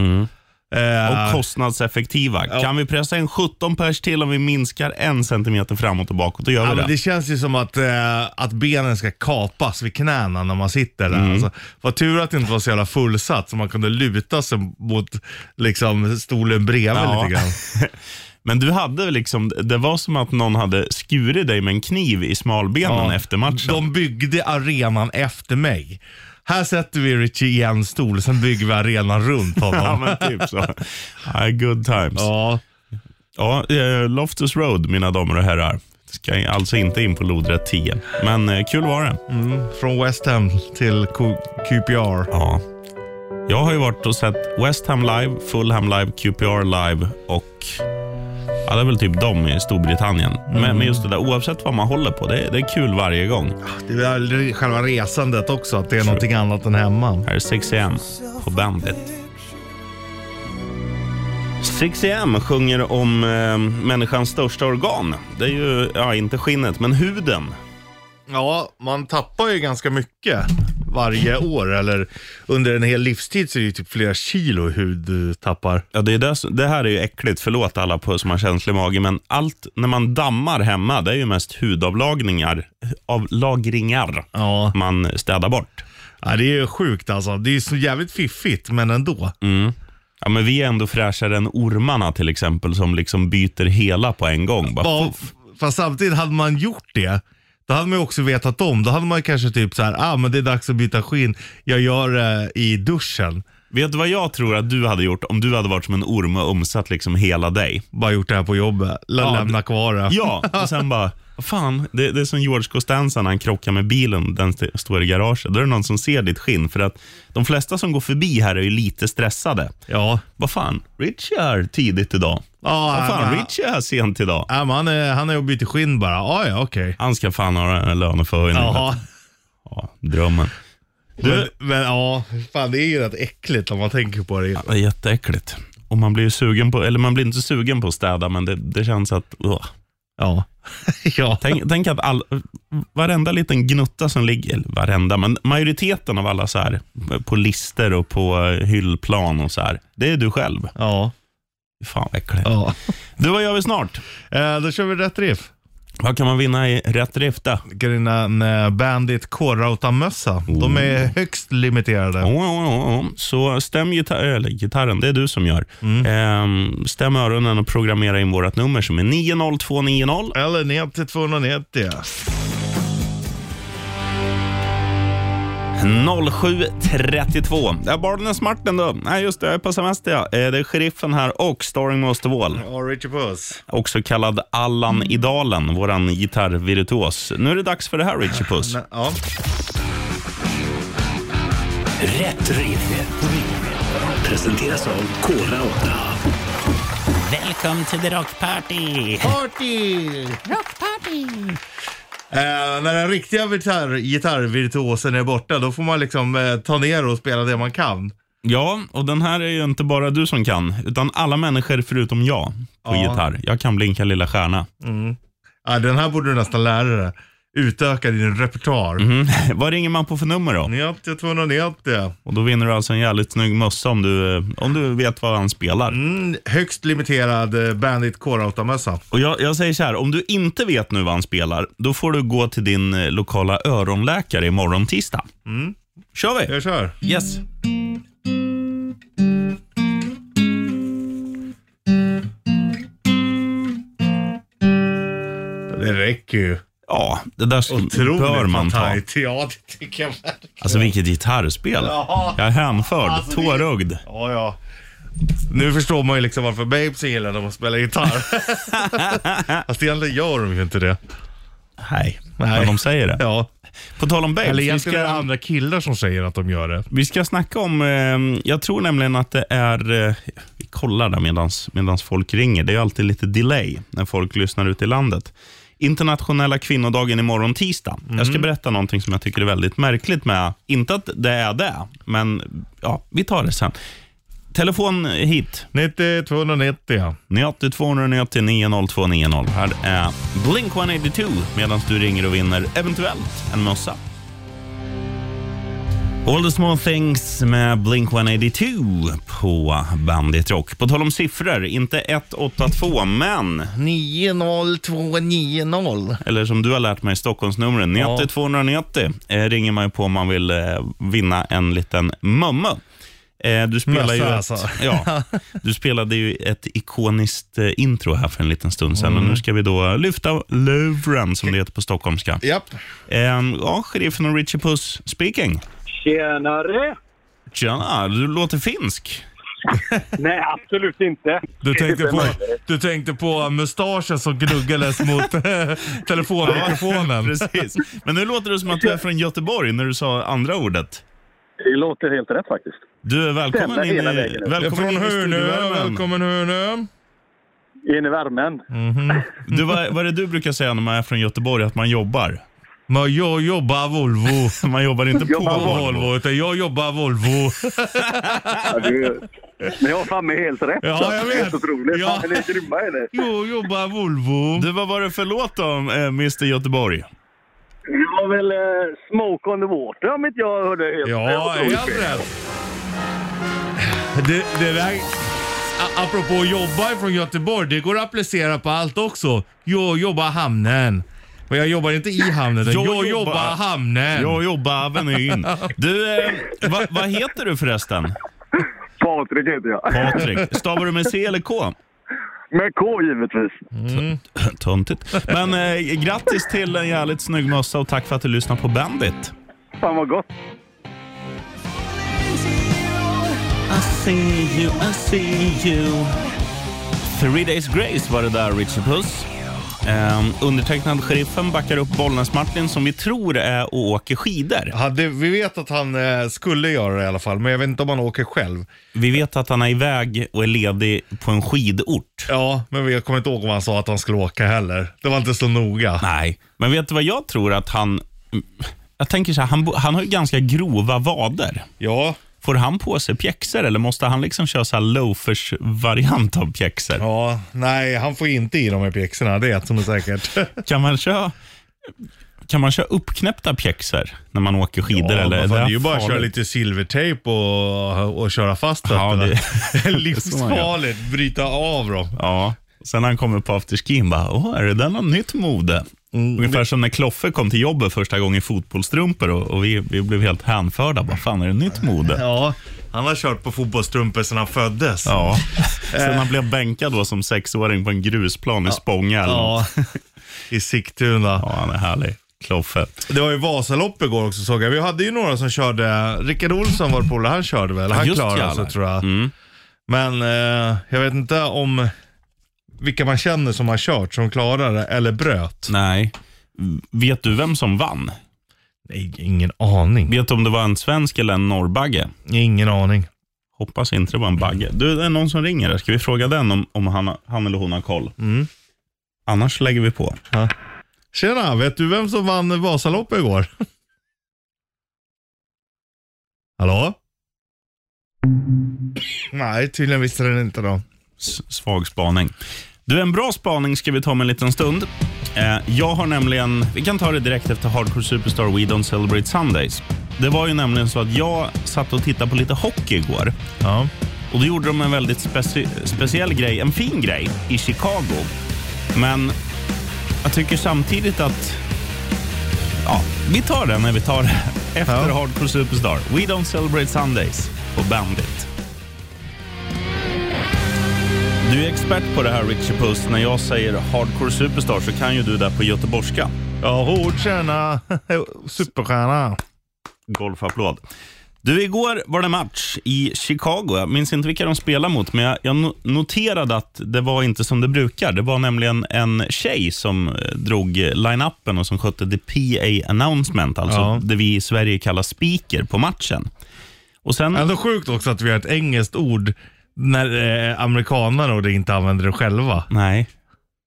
C: Eh,
B: och kostnadseffektiva. Kan vi pressa in 17 pers till om vi minskar en centimeter framåt och bakåt, då gör
C: ja,
B: vi
C: men
B: det.
C: det känns ju som att, eh, att benen ska kapas vid knäna när man sitter där. Alltså, vad tur att det inte var så jävla fullsatt så man kunde luta sig mot liksom, stolen bredvid
B: Ja.
C: lite grann.
B: Men du hade väl liksom, det var som att någon hade skurit dig med en kniv i smalbenen
C: Ja.
B: efter matchen.
C: De byggde arenan efter mig. Här sätter vi Richie i en stol, sen bygger vi arenan runt
B: Ja,
C: honom.
B: men typ så. Ja, good times. Ja.
C: ja.
B: eh, Loftus Road, mina damer och herrar. Ska alltså inte in på lodrätt 10. Men eh, kul var det.
C: Från West Ham till Q- QPR.
B: Ja. Jag har ju varit och sett West Ham live, Fulham live, QPR live och ja, det är väl typ de i Storbritannien. Men, men just det där, oavsett vad man håller på, det, är- det är kul varje gång.
C: Det är väl själva resandet också, att det är någonting annat än hemma.
B: Här är 6 am på bandet. 6 am sjunger om eh, människans största organ. Det är ju, ja inte skinnet, men huden.
C: Ja, man tappar ju ganska mycket varje år eller under en hel livstid så är det ju typ flera kilo hud du tappar.
B: Ja, det, är det, som- det här är ju äckligt, förlåt alla på, som har känslig mage, men allt när man dammar hemma, det är ju mest hudavlagringar, avlagringar
C: Ja.
B: man städar bort.
C: ja, det är ju sjukt alltså. Det är ju så jävligt fiffigt, men ändå.
B: Ja, men vi är ändå fräschare än ormarna till exempel, som liksom byter hela på en gång. Bara,
C: Ja, f- fast samtidigt, hade man gjort det, då hade man ju också vetat om. Då hade man ju kanske typ så här, ah men det är dags att byta skinn. Jag gör det i duschen.
B: Vet du vad jag tror att du hade gjort om du hade varit som en orm och omsatt liksom hela dig?
C: Bara gjort det här på jobbet. Lä-
B: Ja,
C: lämna kvar det.
B: Ja, och sen bara, "Vad fan, det, det är som George Costanza när han krockar med bilen, den st- står i garaget. Då är det någon som ser ditt skinn, för att de flesta som går förbi här är ju lite stressade.
C: Ja.
B: Vad fan, Richie är här tidigt idag.
C: Ja,
B: Vad fan,
C: men-
B: Richie är här sent idag.
C: Ja, men han, är, han har ju bytt i skinn bara. Ah, ja, okej.
B: Han ska fan ha en löneförhöjning.
C: Jaha.
B: Ja, drömmen.
C: Men,
B: Du,
C: men ja, fan det är ju rätt äckligt om man tänker på det.
B: ja, det är jätteäckligt. Och man blir ju sugen på, eller man blir inte sugen på att städa, men det, det känns att... åh.
C: Ja. ja.
B: Tänk, tänk att all, varenda liten gnutta som ligger, eller varenda, men majoriteten av alla så här på lister och på hyllplan och så här, det är du själv.
C: Ja.
B: Fan vad äckligt.
C: ja.
B: Du, vad gör vi snart?
C: Eh, då kör vi rätt riff.
B: Vad kan man vinna i rätt rifte?
C: Grina eh, Bandit K-Rauta-mössa. De är
B: Oh.
C: högst limiterade.
B: Ja, ja, ja, ja. Så stäm gita- eller, gitarren, det är du som gör.
E: Mm.
B: Ehm, stäm öronen och programmera in vårt nummer som är 90290.
C: Eller ner till 290.
B: 0732. Det är Barnes Martin då. Nej, just det. Jag är på semester. ja. Eh, Det är sheriffen här och Starring med Osterwall.
C: Ja, Richie Puss.
B: Också kallad Allan i dalen, våran gitarrvirtuos. Nu är det dags för det här, Richie Puss.
C: Nej, Ja.
A: Rätt riff. Presenteras av Kora 8.
E: Welcome to the rock party.
C: Party!
E: Rock party.
C: Eh, när den riktiga gitarr, gitarrvirtuosen är borta, då får man liksom eh, ta ner och spela det man kan.
B: Ja, och den här är ju inte bara du som kan, utan alla människor förutom jag på
C: Ja.
B: gitarr. Jag kan blinka lilla stjärna.
C: Ja, den här borde du nästan lära dig. Utöka din repertoar.
B: Mm. Vad ringer man på för nummer då?
C: 90 290.
B: Och då vinner du alltså en jävligt snygg mössa om du, eh, om du vet vad han spelar.
C: Mm, högst limiterad eh, Bandit K-Rauta-mössa.
B: Och jag, jag säger så här, om du inte vet nu vad han spelar, då får du gå till din eh, lokala öronläkare imorgon tisdag.
C: Mm.
B: Kör vi!
C: Jag kör.
B: Yes.
C: Det räcker ju.
B: Ja, det där sk-
C: Otroligt
B: bör man ta.
C: tajt. Ja, det tycker jag verkligen.
B: Alltså vilket gitarrspel.
C: Ja.
B: Jag är hänförd,
C: Alltså, det-
B: tårögd.
C: Ja, ja. Nu förstår man ju liksom varför Babes gillar när man spelar gitarr. Fast egentligen gör de ju inte det.
B: Nej, men de säger det.
C: Ja.
B: På tal om Babes,
C: Eller
B: vi
C: egentligen är det
B: ska,
C: andra killar som säger att de gör det.
B: vi ska snacka om, eh, jag tror nämligen att det är, eh, vi kollar där medans, medans folk ringer. Det är ju alltid lite delay när folk lyssnar ute i landet. Internationella kvinnodagen imorgon tisdag. Jag ska berätta någonting som jag tycker är väldigt märkligt med, inte att det är det, men ja, vi tar det sen. Telefon hit,
C: 90 290 ja.
B: 90 290 90290. Här är Blink 182 medan du ringer och vinner eventuellt en mössa. All the small things med Blink 182 på Bandit Rock. På tal om siffror, inte 182, men
C: 90290.
B: eller som du har lärt mig, Stockholmsnumren 90
C: Ja.
B: 290 eh, ringer man ju på om man vill eh, vinna en liten mömma. Eh, du, spelar ju
C: Mössa,
B: ett,
C: alltså.
B: ja, du spelade ju ett ikoniskt eh, intro här för en liten stund sedan och nu ska vi då lyfta luren som det heter på stockholmska.
C: Japp.
B: Eh, ja, sheriffen och Richie Puss speaking.
D: Tjenare!
B: Tjena, du låter finsk.
D: Nej, absolut inte.
C: Du tänkte,
D: Vem
C: på,
D: är det?
C: du tänkte på mustaschen som gnuggades mot telefonmikrofonen.
B: Precis. Men nu låter det som att du är från Göteborg när du sa andra ordet.
D: Det låter helt rätt faktiskt.
B: Du är välkommen
D: Stämmer
B: in i,
D: hela vägen upp.
B: välkommen
C: Från
B: in i
C: Hönö,
B: studiovärmen.
C: välkommen Hönö.
D: In i värmen.
C: Mm.
B: Du, vad, vad är det du brukar säga när man är från Göteborg? Att man jobbar?
C: Men jag jobbar Volvo.
B: Man jobbar inte på
D: Jobbar
B: Volvo.
C: Volvo, utan jag jobbar Volvo.
D: Ja, du, men jag har fan med helt rätt.
C: Ja,
D: alltså.
C: jag
D: Det är
C: vet.
D: så otroligt.
C: Ja.
D: Ja. Ni är grymma är ni.
C: Jag jobbar Volvo.
B: Du, vad var det för låt då, eh, Mr Göteborg?
D: Det var väl eh, Smoke on the Water om inte jag hörde helt det var
C: Ja,
D: otroligt
C: helt
D: fel.
C: rätt. Det, det där, a- apropå att jobba från Göteborg, det går att applicera på allt också. Jag jobbar i hamnen. Men jag jobbar inte i hamnen, utan
B: Jag
C: jag
B: jobbar-
C: jobbar i hamnen.
B: Jag jobbar Avenyn. Du, eh, va, vad heter du förresten?
D: Patrik heter jag.
B: Patrik. Stavar du med C eller K?
D: Med K givetvis.
B: Töntigt. Men eh, grattis till en jävligt snygg mössa och tack för att du lyssnar på Bandit.
D: Fan vad gott.
B: I see you, I see you. Three Days Grace var det där, Richard Puss. Ehm, undertecknad sheriffen backar upp Bollnäs-Martin som vi tror är och åker skidor.
C: Hade, vi vet att han eh, skulle göra det i alla fall, men jag vet inte om han åker själv.
B: Vi vet att han är iväg och är ledig på en skidort.
C: Ja, men jag kommer inte ihåg om han sa att han skulle åka heller. Det var inte så noga.
B: Nej, men vet du vad jag tror att han... jag tänker så här, han, bo- han har ju ganska grova vader.
C: Ja.
B: Får han på sig pjäxor eller måste han liksom köra så här loafers-variant av pjäxor?
C: Ja, nej han får inte i de här pjäxorna, det är ett som är säkert.
B: Kan man köra kan man köra uppknäppta pjäxor när man åker skidor? eller?
C: Ja, vad fan, det är ju bara att
B: farligt?
C: köra lite silvertejp och, och köra fast
B: Ja,
C: fötterna.
B: det-
C: Livsfarligt, bryta av dem.
B: Ja. Sen när han kommer på afterskin bara, åh, är det där något nytt mode?
C: Mm,
B: Ungefär som när Kloffe kom till jobbet första gången i fotbollsstrumpor och, och vi, vi blev helt hänförda. Vad fan, är det nytt mode?
C: Ja, han har kört på fotbollstrumpor sedan han föddes.
B: Ja. Sen han blev bänkad då som sexåring på en grusplan i Spånga. eller något.
C: Ja. I Sigtuna.
B: ja, han är härlig. Kloffe.
C: Det var ju Vasalopp igår också såg jag. Vi hade ju några som körde. Rickard Olsson var polare, han körde väl? Han
B: just
C: klarade
B: jävlar.
C: sig
B: Mm.
C: tror jag. Men eh, jag vet inte om vilka man känner som har kört, som klarade eller bröt.
B: Nej. Vet du vem som vann?
C: Nej, ingen aning.
B: Vet du om det var en svensk eller en norrbagge?
C: Ingen aning.
B: Hoppas inte det var en bagge. Du, det är någon som ringer. där. Ska vi fråga den om, om han, han eller hon har koll? Annars lägger vi på.
C: Tjena, vet du vem som vann Vasaloppet igår? Hallå? Nej, tydligen visste den inte då.
B: S- svag spaning. Du, en bra spaning ska vi ta om en liten stund. Eh, jag har nämligen, vi kan ta det direkt efter Hardcore Superstar We Don't Celebrate Sundays. Det var ju nämligen så att jag satt och tittade på lite hockey igår.
C: Ja.
B: Och då gjorde de en väldigt speci- speciell grej, en fin grej, i Chicago. Men jag tycker samtidigt att... Ja, vi tar den när vi tar det. Efter
C: Ja.
B: Hardcore Superstar. We don't celebrate Sundays på Bandit. Du är expert på det här Richie Puss. När jag säger Hardcore Superstar så kan ju du det på göteborgska.
C: Ja, hård tjena. Superstjärna.
B: golfapplåd. Du, igår var det match i Chicago. Jag minns inte vilka de spelade mot, men jag, jag no- noterade att det var inte som det brukar. Det var nämligen en tjej som eh, drog eh, line-upen och som skötte the PA announcement, alltså
C: Ja.
B: det vi i Sverige kallar speaker på matchen. Och sen,
C: Ändå sjukt också att vi har ett engelskt ord när eh, amerikanerna och det inte använder det själva.
B: nej,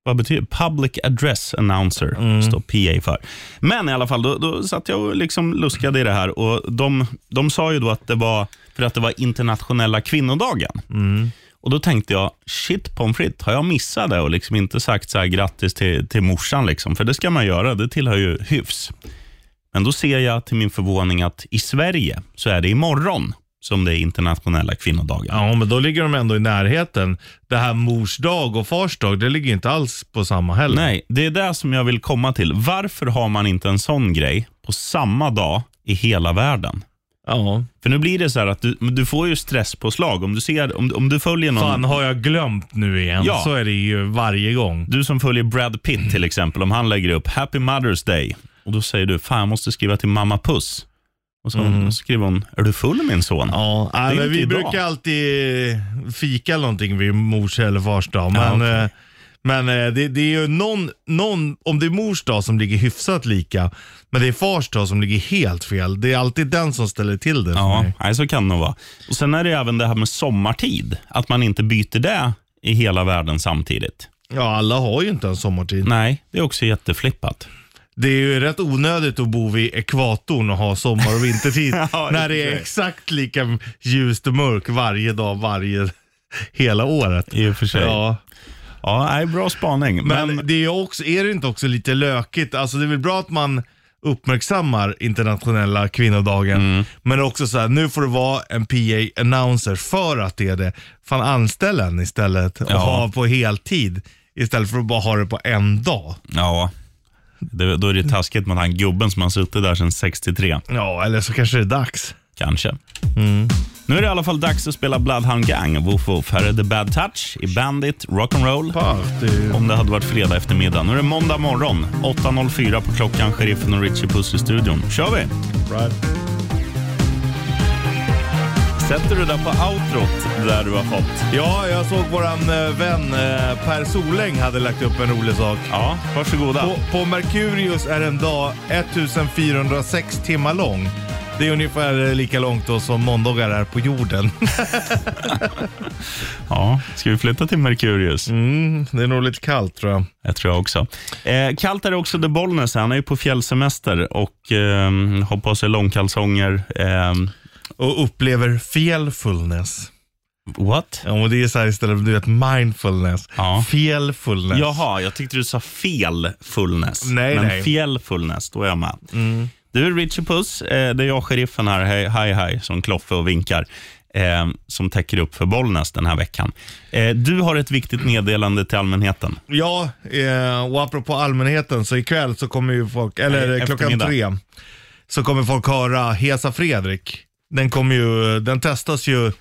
B: vad betyder public address announcer? Står PA för. Men i alla fall, då, då satt jag och liksom luskade i det här och de, de sa ju då att det var för att det var internationella kvinnodagen. Och då tänkte jag, shit pommes frites, har jag missat det och liksom inte sagt så här grattis till, till morsan? Liksom? För det ska man göra, det tillhör ju hyfs. Men då ser jag till min förvåning att i Sverige så är det imorgon som det är internationella kvinnodagen.
C: Ja, men då ligger de ändå i närheten. Det här mors dag och fars dag, det ligger inte alls på samma heller.
B: Nej, det är det som jag vill komma till. Varför har man inte en sån grej på samma dag i hela världen?
C: Ja.
B: För nu blir det så här att du, men du får ju stresspåslag om du ser, om, om du följer någon.
C: Fan, har jag glömt nu igen?
B: Ja.
C: Så är det ju varje gång.
B: Du som följer Brad Pitt till exempel, om han lägger upp Happy Mother's Day och då säger du, fan jag måste skriva till mamma Puss. Och så skriver hon, är du full min son?
C: Ja, nej,
B: är
C: men
B: inte
C: vi
B: idag.
C: brukar alltid fika eller någonting vid mors eller fars dag. Men,
B: okej.
C: eh, men eh, det, det är ju någon, någon, om det är mors dag som ligger hyfsat lika, men det är fars dag som ligger helt fel. Det är alltid den som ställer till det för
B: Ja,
C: mig.
B: nej, så kan det nog vara. Och sen är det ju även det här med sommartid, att man inte byter det i hela världen samtidigt.
C: Ja, alla har ju inte en sommartid.
B: Nej, det är också jätteflippat.
C: Det är ju rätt onödigt att bo vid ekvatorn och ha sommar och vintertid
B: Ja,
C: när
B: det
C: det
B: är
C: är
B: det.
C: exakt lika ljust och mörkt varje dag, varje, hela året.
B: I och för sig.
C: Ja.
B: Ja, nej, bra spaning. Men,
C: Men, det är ju också, är det inte också lite lökigt? Alltså det är väl bra att man uppmärksammar internationella kvinnodagen. Men också så här, nu får det vara en PA announcer för att det är det. Fan anställ en istället och
B: Ja.
C: ha på heltid. Istället för att bara ha det på en dag.
B: ja, det, då är det taskigt mot han gubben som har suttit där sedan 63.
C: Ja, eller så kanske det är dags.
B: Kanske. Nu är det i alla fall dags att spela Bloodhound Gang. Woof woof. Här är The Bad Touch i Bandit Rock'n'Roll. Om det hade varit fredag eftermiddag. Nu är det måndag morgon. 8.04 på klockan. Sheriffen och Richie Puss i studion. kör vi! Sätter du den på outrot där du har fått?
C: Ja, jag såg våran eh, vän eh, Per Soläng hade lagt upp en rolig sak.
B: Ja, varsågoda.
C: På, på Merkurius är en dag 1406 timmar lång. Det är ungefär eh, lika långt då som måndagar är på jorden.
B: Ja, ska vi flytta till Merkurius?
C: Mm, det är nog lite kallt tror jag.
B: Jag tror jag också. Eh, kallt är det också där Bollnäs är. Han är ju på fjällsemester och eh, har på sig långkalsonger. Eh,
C: Och upplever feelfulness.
B: what?
C: Ja, och det är så här istället, du vet mindfulness.
B: Ja.
C: Feelfulness.
B: Jaha, jag tyckte du sa felfulness.
C: Nej, Mm.
B: Men
C: nej.
B: fjällfulness, då är jag med. Du, Richie Puss, eh, det är jag, sheriffen här, hej, hej, hej, som kloffe och vinkar, eh, som täcker upp för Bollnäs den här veckan. Eh, du har ett viktigt meddelande till allmänheten.
C: Ja, eh, och apropå allmänheten så ikväll så kommer ju folk, eller
B: Nej,
C: klockan
B: eftermiddag.
C: tre, så kommer folk höra Hesa Fredrik. Den kommer ju, den testas ju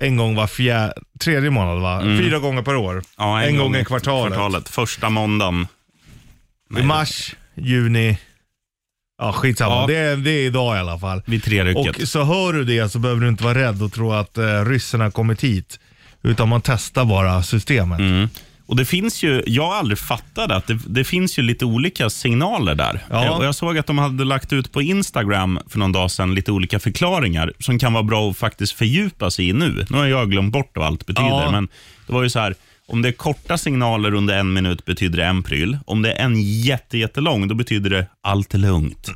C: en gång var fjär, tredje månad va?
B: Mm.
C: Fyra gånger per år. en, gång, i kvartalet.
B: Första måndagen.
C: I mars, juni, ja skitsamma.
B: Ja.
C: Det, är- det är idag i alla fall.
B: Vid trerycket.
C: Och så hör du det så behöver du inte vara rädd och tro att eh, ryssarna har kommit hit. Utan man testar bara systemet.
B: Mm. Och det finns ju, jag har aldrig fattat att det, det finns ju lite olika signaler där.
C: Ja.
B: Eh, Och jag såg att de hade lagt ut på Instagram för någon dag sedan lite olika förklaringar som kan vara bra att faktiskt fördjupa sig i nu. Nu har jag glömt bort vad allt betyder,
C: Ja.
B: men det var ju så här, om det är korta signaler under en minut betyder det en pryl. Om det är en jätte, jättelång, då betyder det allt är lugnt.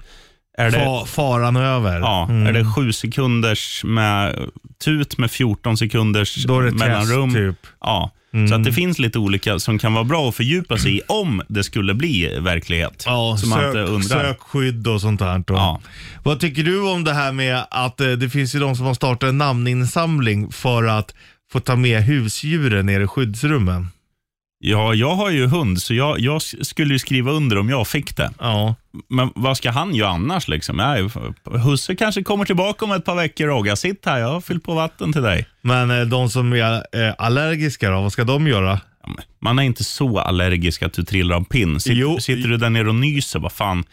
B: Är det,
C: Fa, faran över.
B: ja, är det sju sekunders med tut med 14 sekunders
C: Då är det test,
B: mellanrum?
C: typ.
B: Ja, så att det finns lite olika som kan vara bra att fördjupa sig i om det skulle bli verklighet.
C: Mm. Ja,
B: så man inte
C: sök,
B: undrar.
C: sök skydd och sånt här. Då.
B: Ja.
C: Vad tycker du om det här med att eh, det finns ju de som har startat en namninsamling för att få ta med husdjuren ner i skyddsrummen?
B: Ja, jag har ju hund, så jag, jag s- skulle ju skriva under om jag fick det.
C: Ja.
B: Men vad ska han göra annars? Liksom? Nej, husse kanske kommer tillbaka om ett par veckor, Rogga. Sitt här, jag har fyllt på vatten till dig.
C: Men eh, de som är eh, allergiska då, vad ska de göra?
B: Ja, men Man är inte så allergisk att du trillar av pinn. Sitt,
C: Jo.
B: Sitter du där nere och nyser, vad fan.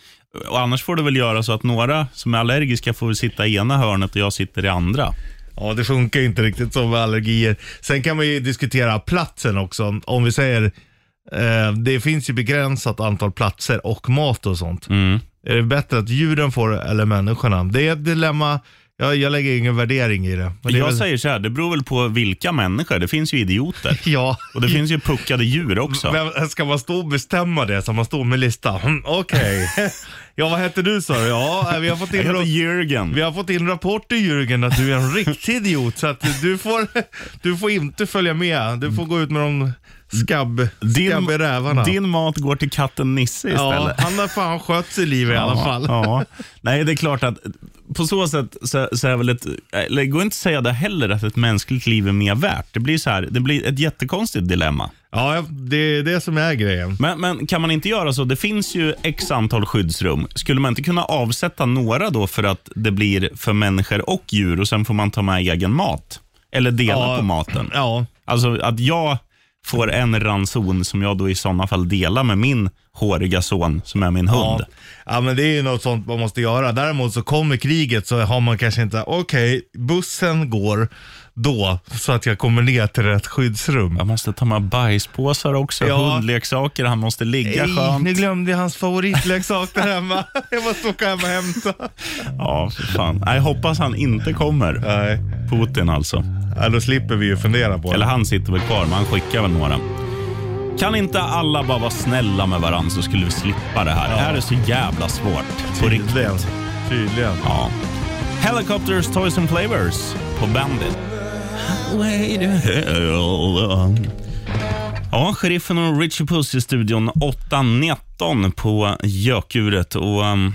B: Och annars får du väl göra så att några som är allergiska får väl sitta i ena hörnet och jag sitter i andra.
C: Ja, det funkar ju inte riktigt som med allergier. Sen kan man ju diskutera platsen också. Om vi säger, eh, det finns ju begränsat antal platser och mat och sånt.
B: Mm.
C: Är det bättre att djuren får det eller människorna? Det är ett dilemma. Jag, jag lägger ingen värdering i det. Men det är
B: jag
C: väl-
B: säger så här, det beror väl på vilka människor. Det finns ju idioter.
C: Ja.
B: Och det finns ju puckade djur också.
C: Vem, ska man stå och bestämma det? Ska man stå med lista? Mm, Okej. ja, vad heter du sa du? Ja, eh, vi har fått
B: Jag
C: in,
B: heter
C: ra- vi
B: Jürgen.
C: har fått in rapporter Jürgen att du är en riktig idiot. Så att du får, du får inte följa med. Du får gå ut med de skabb, skabbiga rävarna.
B: din mat går till katten Nisse
C: ja,
B: istället.
C: han har fan skött sig i livet i alla fall.
B: Ja. Nej, det är klart att på så sätt så, så är väl ett, eller det går inte att säga det heller att ett mänskligt liv är mer värt. Det blir så här, det blir ett jättekonstigt dilemma.
C: Ja, det är det som är grejen.
B: Men, men kan man inte göra så? Det finns ju x antal skyddsrum. Skulle man inte kunna avsätta några då för att det blir för människor och djur och sen får man ta med egen mat? Eller dela
C: Ja.
B: på maten?
C: Ja,
B: Alltså att jag får en ranson som jag då i sådana fall delar med min håriga son som är min hund.
C: Ja. ja, men det är ju något sånt man måste göra. Däremot så kommer kriget så har man kanske inte, okej, bussen går då så att jag kommer ner till rätt skyddsrum.
B: Jag måste ta med bajspåsar också,
C: Ja.
B: hundleksaker, han måste ligga
C: Nej, nu
B: skönt.
C: glömde jag hans favoritleksak där hemma. Jag måste åka hem och hämta.
B: Ja, för fan. Nej, hoppas han inte kommer.
C: Nej,
B: Putin alltså.
C: ja, då slipper vi ju fundera på
B: Eller
C: det.
B: han sitter väl kvar, men han skickar väl några. Kan inte alla bara vara snälla med varandra så skulle vi slippa det här. Det här är så jävla svårt. På riktigt.
C: Tydligen. Tydligen.
B: Ja. Helicopters, Toys and Flavors på Bandit. Highway to hell. Ja, sheriffen och Richie Puss i studion 8.19 på gökuret. Och, um,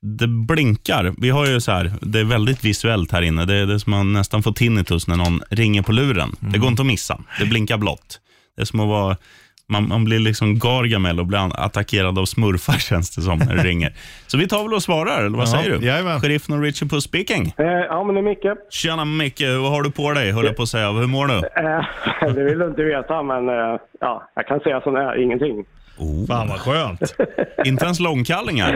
B: det blinkar. Vi har ju så här, det är väldigt visuellt här inne. Det är det är som man nästan får tinnitus när någon ringer på luren. Det
C: Mm.
B: går inte att missa. Det blinkar blått. Det är som att vara, man, man blir liksom Gargamel och blir an- attackerad av smurfar känns det som när det ringer. Så vi tar väl och svarar, eller vad
C: Ja,
B: säger du?
C: jajamän.
B: Sheriffen och Richard Puss speaking.
F: Eh, ja, men det är Micke.
B: Tjena Micke, vad har du på dig? Höll jag på att säga. Hur mår du?
F: Eh, det vill du inte veta, men eh, ja, jag kan säga som det är, ingenting.
C: Fan vad skönt.
B: Inte ens långkallingar?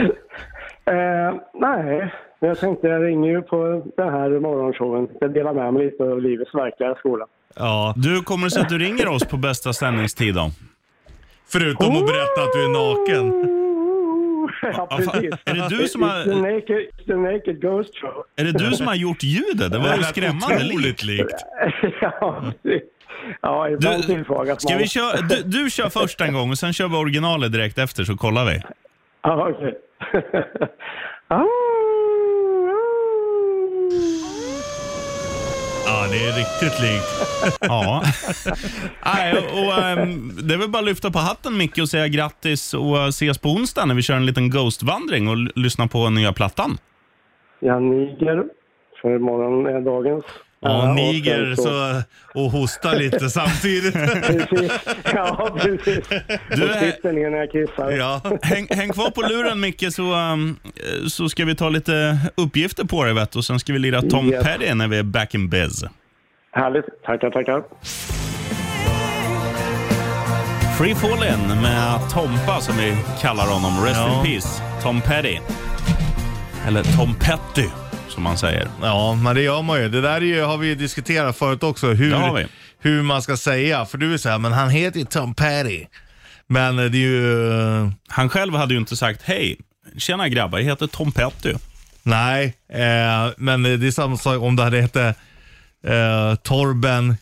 F: Eh, nej, men jag tänkte jag ringer ju på den här morgonshowen. Jag delar med mig lite av livets verkliga skola.
C: Ja,
B: Du, kommer det sig att du ringer oss på bästa sändningstid då?
C: förutom att berätta att du är naken.
F: ja,
B: Ja, fan,
F: precis.
B: är det du som har-
F: It's the naked, it's the naked ghost show.
B: Är det du som har gjort ljudet? Det var ju
C: lät
B: skrämmande likt.
C: Otroligt likt.
F: ja, precis. Ja, ibland
B: Du,
F: tillfrågas
B: ska
F: man.
B: vi köra, du, du kör först en gång och sen kör vi originalet direkt efter så kollar vi.
F: Ja, okej. Ah, ah.
C: Ja, det är riktigt likt.
B: Ja. Nej, och, och, ehm, det är väl bara att lyfta på hatten Micke och säga grattis och eh, ses på onsdag när vi kör en liten Ghost-vandring och l- lyssnar på nya plattan.
F: Jag niger, för imorgon är dagens.
C: Ja,
F: Ja, och
C: niger
F: sen
C: så, och hosta lite samtidigt.
F: Precis. Ja, precis.
B: Du,
F: Du
B: eh,
F: sitter ner när jag kissar.
C: ja.
B: Häng, häng kvar på luren Micke så, ehm, eh, så ska vi ta lite uppgifter på dig vet, du. och sen ska vi lira Tom
F: Yes.
B: Petty när vi är back in biz.
F: Härligt. Tackar, tackar.
B: Free Fallin med Tompa som vi kallar honom. Rest
C: Ja.
B: in peace, Tom Petty. Eller Tom Petty som man säger.
C: ja, men det gör man ju. Det där är ju, har vi ju diskuterat förut också, hur,
B: Det har vi.
C: hur man ska säga. För du är så här, men han heter ju Tom Petty. Men eh, det är ju... eh,
B: Han själv hade ju inte sagt hej, tjena grabbar, jag heter Tom Petty.
C: Nej, eh, men det är samma sak om det hade hetat eh, Torben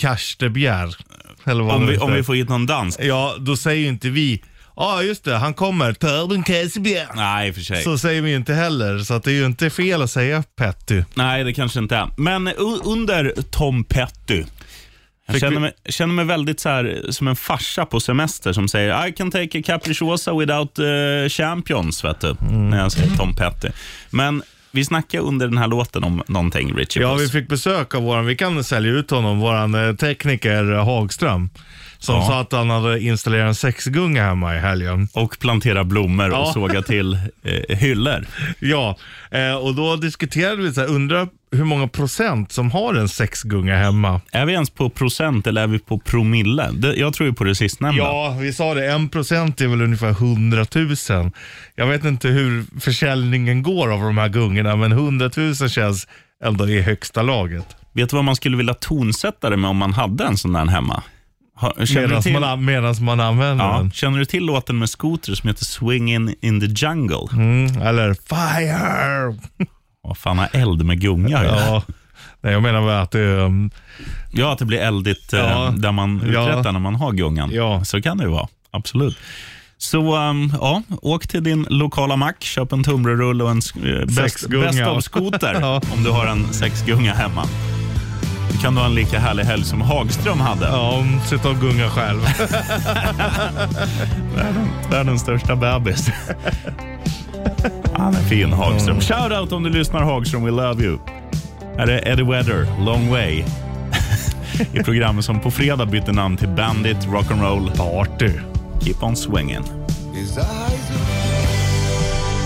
C: Karstebjer. Eller vad
B: Om
C: det
B: vi,
C: heter.
B: om vi får hit någon dansk.
C: Ja, då säger ju inte vi, ja ah, just det, han kommer, Torben Karstebjer.
B: Nej, i och för sig.
C: Så säger vi ju inte heller, så att det är ju inte fel att säga Petty.
B: Nej, det kanske inte är. Men u- under Tom Petty. Jag
C: Fick
B: känner
C: vi-
B: mig, känner mig väldigt så här, som en farsa på semester som säger I can take a capricciosa without eh, champions, vet du.
C: Mm.
B: När jag säger Tom Petty. Men vi snackar under den här låten om någonting, Richie
C: Ja,
B: Puss.
C: vi fick besök av våran, vi kan sälja ut honom, våran eh, tekniker eh, Hagström. Som
B: Ja.
C: sa att han hade installerat en sexgunga hemma i helgen.
B: Och plantera blommor och
C: Ja.
B: såga till eh, hyllor.
C: Ja, eh, och då diskuterade vi så här, undrar hur många procent som har en sexgunga hemma?
B: Är vi ens på procent eller är vi på promille? Det, jag tror ju på det sistnämnda.
C: Ja, vi sa det, en procent är väl ungefär 100 000. Jag vet inte hur försäljningen går av de här gungorna, men 100 000 känns ändå i högsta laget.
B: Vet du vad man skulle vilja tonsätta det med om man hade en sån där hemma? Har- Känner du
C: Medan
B: till,
C: man, an- medans man använder
B: ja,
C: den.
B: känner du till låten med Scooter som heter Swingin' in the Jungle?
C: Mm, eller fire!
B: Vad fan har eld med gunga ja.
C: Ja. Nej, jag menar väl att det är, um,
B: ja, att det blir eldigt eh,
C: Ja.
B: där man
C: Ja.
B: uträttar när man har gungan.
C: Ja.
B: Så kan det ju vara, absolut. Så ehm, ja, åk till din lokala mack, köp en tunnbrödsrulle och en uh, bäst,
C: Sexgunga.
B: bäst av skoter
C: Ja.
B: om du har en sexgunga hemma. Då kan du ha en lika härlig helg som Hagström hade.
C: ja, um, sitta och gunga själv.
B: Världens största bebis. Han är fin, Hagström. Shoutout om du lyssnar, Hagström. We love you. Här är Eddie Weather, Long Way. I programmet som på fredag bytte namn till Bandit Rock'n'Roll Party. Keep on swinging.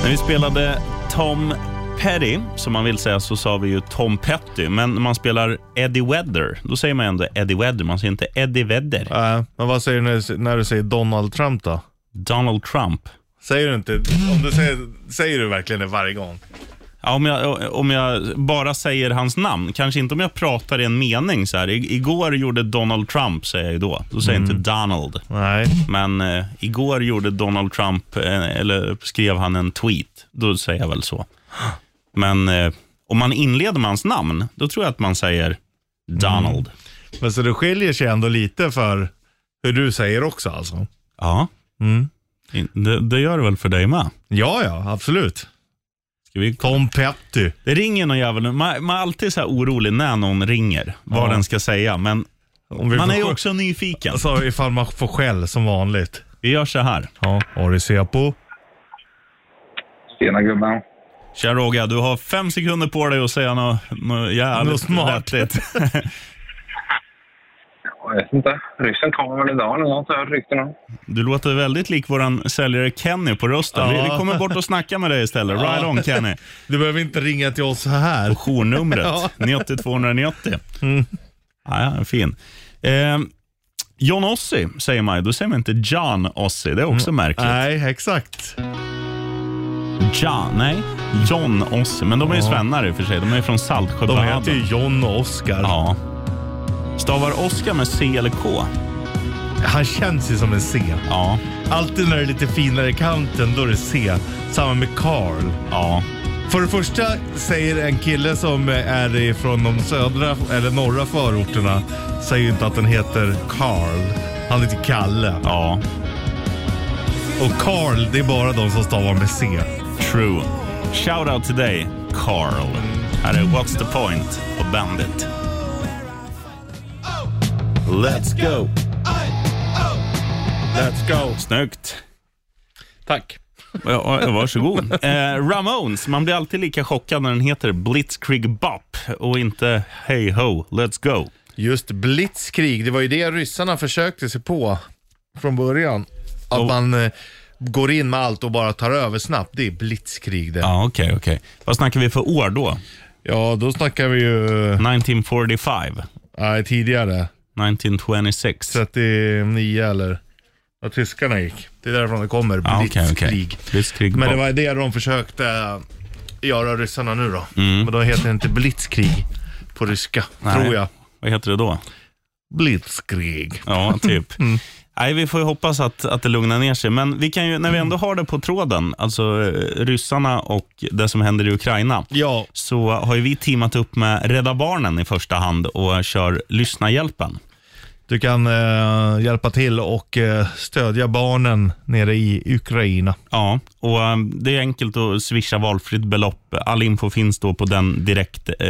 B: När vi spelade Tom Petty, som man vill säga, så sa vi ju Tom Petty. Men när man spelar Eddie Weather, då säger man ändå Eddie Weather. Man säger inte Eddie Vedder.
C: Nej, men vad säger du när, när du säger Donald Trump då?
B: Donald Trump.
C: Säger du inte, om du säger, säger du verkligen det varje gång?
B: Ja, om, jag, om jag bara säger hans namn, kanske inte om jag pratar i en mening. Så här. I, igår gjorde Donald Trump, säger jag ju då. Då säger
C: Mm.
B: jag inte Donald.
C: Nej.
B: Men eh, igår gjorde Donald Trump, eh, eller skrev han en tweet. Då säger jag väl så. Men eh, om man inleder med hans namn, då tror jag att man säger Donald.
C: Mm. Men så det skiljer sig ändå lite för hur du säger också alltså?
B: Ja,
C: Mm.
B: In- det, det gör det väl för dig med.
C: Ja, ja, absolut.
B: Ska vi
C: Tom Petty.
B: Det ringer någon jävel nu. Man, man är alltid så här orolig när någon ringer, vad
C: Ja.
B: den ska säga. Men
C: Om vi
B: man
C: får
B: är ju
C: sj-
B: också nyfiken.
C: Alltså ifall man får skäll som vanligt.
B: Vi gör så här.
C: Ja, har du se på?
G: Tjena gubben.
B: Tja Roga, du har fem sekunder på dig att säga något, något jävligt
C: Något smart.
B: vettigt.
G: Jag vet inte. Ryssen kommer väl idag eller något, har jag hört rykten om.
B: Du låter väldigt lik våran säljare Kenny på rösten.
C: Ja.
B: Vi, vi kommer bort och snacka med dig istället. Right on Kenny.
C: Du behöver inte ringa till oss så här.
B: Och journumret, 90 290.
C: Mm.
B: Ja, ja, fin. Eh, John Ossi säger man ju. Då säger man inte John Ossi. Det är också märkligt.
C: Mm. Nej, exakt.
B: John, nej. John Ossi. Men de är ju svennar i och för sig. De är ju från
C: De
B: Saltsjöbaden.
C: heter ju John och Oscar.
B: Ja. Stavar Oscar med C eller K?
C: Han känns ju som en C.
B: Ja,
C: Alltid när det är lite finare i kanten, då är det C. Samma med Carl.
B: ja.
C: För det första säger en kille som är från de södra eller norra förorterna, säger ju inte att den heter Carl. Han heter Kalle.
B: Ja,
C: Och Carl, det är bara de som stavar med C.
B: true. Shout out till dig, Carl. Här är What's the point och Bandit. Let's go. Let's go. Snyggt.
C: Tack.
B: Ja, ja, varsågod. Eh, Ramones, man blir alltid lika chockad när den heter Blitzkrieg Bop och inte Hey Ho, Let's Go.
C: Just blitzkrig, det var ju det ryssarna försökte sig på från början. Att man eh, går in med allt och bara tar över snabbt. Det är blitzkrig det. Ja,
B: Ja, okej, okej. Vad snackar vi för år då?
C: då snackar vi ju...
B: 1945,
C: Nej, tidigare.
B: 1926.
C: 39 eller vad tyskarna gick. Det är därifrån det kommer,
B: Ja, okej, okej.
C: blitzkrig.
B: Blitzkrig
C: Men det
B: Bop.
C: var det de försökte göra ryssarna nu då. Men då heter det inte blitzkrig på ryska,
B: Mm. Nej.
C: tror jag.
B: Vad heter det då?
C: Blitzkrig.
B: Ja, typ.
C: Mm.
B: Nej, vi får ju hoppas att, att det lugnar ner sig. Men vi kan ju,
C: Mm.
B: när vi ändå har det på tråden, alltså eh, ryssarna och det som händer i Ukraina,
C: Ja,
B: så har ju vi teamat upp med Rädda Barnen i första hand och kör Lyssnahjälpen.
C: du kan eh, hjälpa till och eh, stödja barnen nere i Ukraina.
B: Ja, och eh, det är enkelt att swisha valfritt belopp. All info finns då på den direkt, eh,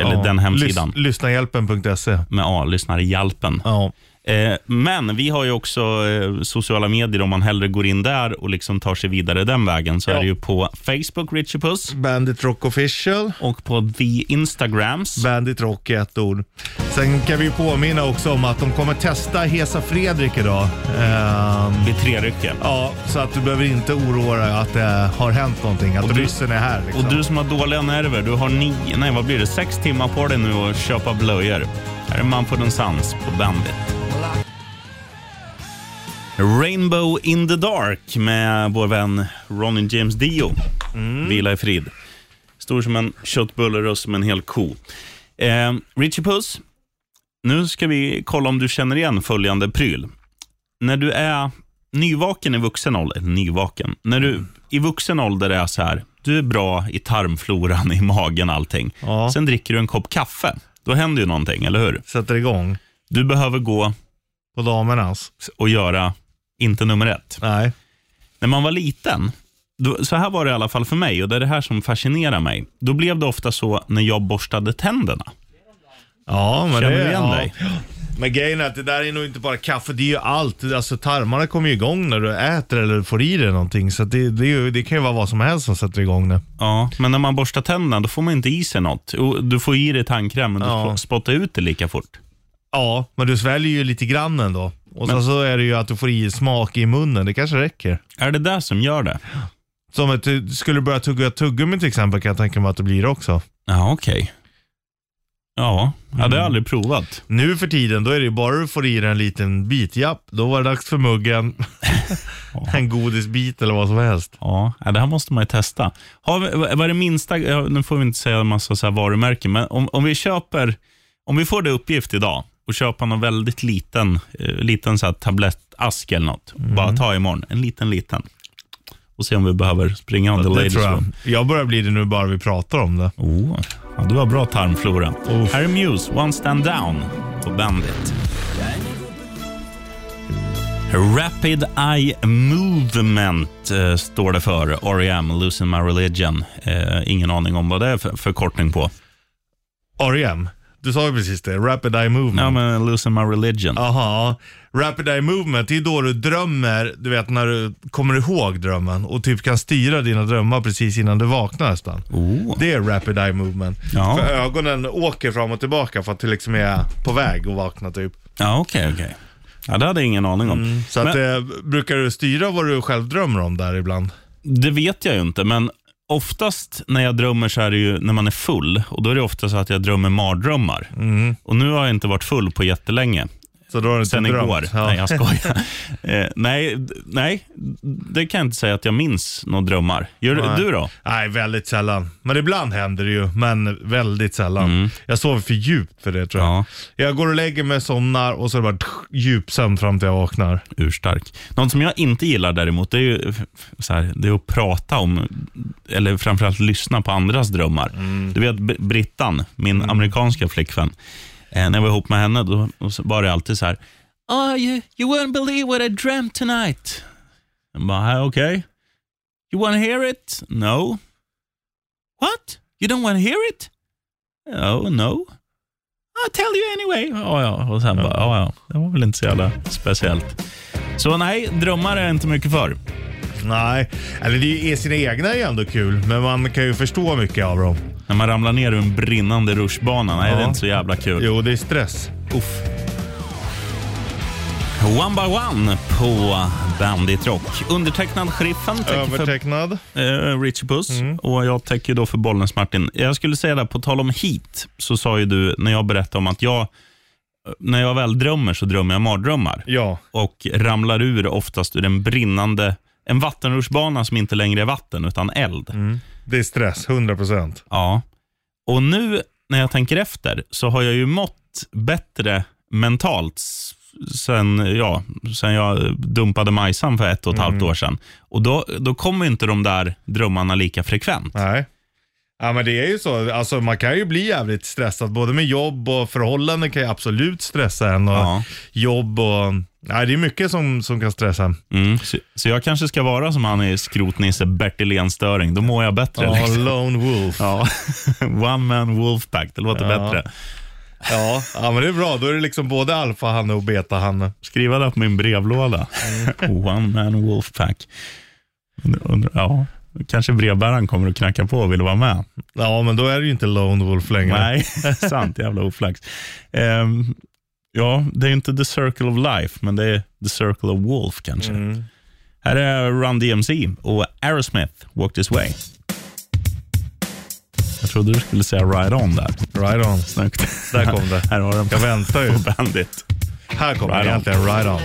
B: eller
C: Ja.
B: den hemsidan.
C: Lys- Lyssnahjälpen.se.
B: med A, Lyssnarhjälpen.
C: Ja.
B: Eh, men vi har ju också eh, sociala medier om man hellre går in där och liksom tar sig vidare den vägen. Så är det ju på Facebook, Richie Puss,
C: Bandit Rock Official.
B: och på the Instagrams.
C: Bandit Rock är ett ord. Sen kan vi påminna också om att de kommer testa Hesa Fredrik idag. Ehm,
B: Vid trerycke.
C: ja, så att du behöver inte oroa dig att det har hänt någonting, att
B: du-
C: ryssen är här. Liksom.
B: Och du som har dåliga nerver, du har nio, nej vad blir det, sex timmar på dig nu att köpa blöjor. Här är man på den sans på Bandit. Rainbow in the dark med vår vän Ronny James Dio. Vila i frid. Stor som en köttbulle och som en hel ko. Eh, Richie Puss, nu ska vi kolla om du känner igen följande pryl. När du är nyvaken i vuxen ålder, eller nyvaken, när du i vuxen ålder är så här, du är bra i tarmfloran, i magen, allting.
C: Ja.
B: Sen dricker du en kopp kaffe. Då händer ju någonting, eller hur?
C: Sätter igång
B: Du behöver gå
C: på damernas.
B: och göra, inte nummer ett.
C: Nej.
B: När man var liten, då, så här var det i alla fall för mig och det är det här som fascinerar mig. Då blev det ofta så när jag borstade tänderna.
C: Ja, men
B: Känner
C: det
B: du igen
C: ja.
B: dig?
C: Men grejen är att det där är nog inte bara kaffe, det är ju allt. Alltså tarmarna kommer ju igång när du äter eller får i dig någonting. Så att det, det, är ju- det kan ju vara vad som helst som sätter igång det.
B: Ja, men när man borstar tänderna då får man inte i sig något. Jo, Du får i dig tandkräm men du
C: Ja.
B: får spotta ut det lika fort.
C: Ja, men du sväljer ju lite grann ändå. Och sen så är det ju att du får i smak i munnen, det kanske räcker.
B: Är det där som gör det?
C: Som att du, skulle du börja tugga tuggummi till exempel kan jag tänka mig att det blir det också.
B: Ja, okej. Ja, jag hade
C: Mm.
B: aldrig provat.
C: Nu för tiden, då är det ju bara du får i dig en liten bit, japp, då var det dags för muggen. en godisbit eller vad som helst.
B: Ja, ja, det här måste man ju testa. Har vi, vad är det minsta, ja, nu får vi inte säga en massa så här varumärken, men om, om vi köper, om vi får det uppgift idag och köpa någon väldigt liten, eh, liten så här tablettask eller något,
C: Mm.
B: bara ta imorgon, en liten liten. Och se om vi behöver springa on the
C: Det
B: ladies
C: tror jag.
B: room.
C: Jag börjar bli det nu bara vi pratar om det.
B: Oh, ja, det var bra tarmflora.
C: Uff.
B: Här är Muse, One Stand Down på Bandit. Rapid Eye Movement eh, står det för. R.E.M. Losing My Religion. Eh, ingen aning om vad det är för förkortning på.
C: R.E.M. E Du sa ju precis det, Rapid Eye Movement.
B: Ja, men Losing My Religion.
C: Aha. Rapid Eye Movement, det är då du drömmer, du vet när du kommer ihåg drömmen och typ kan styra dina drömmar precis innan du vaknar nästan.
B: Oh.
C: Det är Rapid Eye Movement.
B: Ja.
C: För ögonen åker fram och tillbaka för att du liksom är på väg att vakna typ.
B: Ja, okej, okej. Ja, det hade jag ingen aning om.
C: Så
B: Men-
C: att, eh, brukar du styra vad du själv drömmer om där ibland?
B: Det vet jag ju inte, men oftast när jag drömmer så är det ju när man är
C: Mm.
B: full. Och Då är det ofta så att jag drömmer mardrömmar. Och Nu har jag inte varit full på jättelänge.
C: Så då har du inte
B: sen
C: drömt.
B: igår.
C: Ja.
B: Nej, jag skojar. eh, nej, d- nej, det kan jag inte säga att jag minns några drömmar. Gör
C: Nej.
B: du då?
C: Nej, väldigt sällan. Men ibland händer det ju, men väldigt sällan. Jag sover för djupt för det tror jag.
B: Mm. Ja.
C: Jag går och lägger mig, somnar och så är det bara tch, djupsömn fram till jag vaknar.
B: urstark. Något som jag inte gillar däremot, det är ju f- f- så här, det är att prata om, eller framförallt lyssna på andras drömmar. Du vet B- Brittan, min amerikanska flickvän, eh, när jag var ihop med henne, då då så var det alltid så här, oh, you, you won't believe what I dreamt tonight. Jag bara, "Ah, okej. You wanna hear it? No. What? You don't wanna hear it? Oh, no. I'll tell you anyway. Ja, ja. Och sen bara, ja, ja. Det var väl inte så jävla speciellt. Så nej, drömmar är jag inte mycket för.
C: Nej, eller det är ju- sina egna är ju ändå kul, men man kan ju förstå mycket av dem.
B: När man ramlar ner ur en brinnande rutschbana, nej,
C: Ja.
B: det är inte så jävla kul.
C: Jo, det är stress.
B: Uff. One by one på Bandit Rock. Undertecknad Sheriffen täcker för
C: Övertecknad.
B: eh, Richie Puss
C: Mm.
B: och jag täcker då för Bollnäs Martin. Jag skulle säga det, på tal om hit så sa ju du när jag berättade om att jag, eh, när jag väl drömmer så drömmer jag mardrömmar.
C: Ja.
B: och ramlar ur oftast ur en brinnande, en vattenrutschbana som inte längre är vatten utan eld.
C: Det är stress, 100 procent.
B: Ja. Och nu när jag tänker efter så har jag ju mått bättre mentalt s- sen, ja, sen jag dumpade Majsan för ett och ett halvt
C: Mm.
B: år sedan. Och då, då kommer ju inte de där drömmarna lika frekvent.
C: Nej. Ja men det är ju så, alltså man kan ju bli jävligt stressad både med jobb och förhållanden kan ju absolut stressa en och
B: Ja.
C: jobb och, nej det är mycket som, som kan stressa en.
B: Mm. Så, så jag kanske ska vara som han i Skrotnisse Bertil Enstöring. Då mår jag bättre.
C: Ja,
B: liksom.
C: lone wolf. Ja.
B: Ja. One man wolf pack, det låter
C: Ja.
B: bättre.
C: Ja. men det är bra, då är det liksom både alfahanne och betahanne.
B: skriva det på min brevlåda.
C: Mm.
B: One man wolfpack. Und- und- Ja, kanske brevbäraren kommer och knackar på och vill vara med.
C: Ja men då är det ju inte lone wolf längre.
B: Nej, sant. Jävla oflax. Ehm, ja, det är ju inte the circle of life, men det är the circle of wolf kanske.
C: Mm.
B: Här är Run DMC och Aerosmith, Walk This Way. Jag trodde du skulle säga Ride On där.
C: Right on.
B: Snyggt.
C: Där kom det.
B: Här har de
C: Jag väntar ju.
B: på Bandit.
C: Här kommer
B: Right
C: det
B: on.
C: egentligen, right on.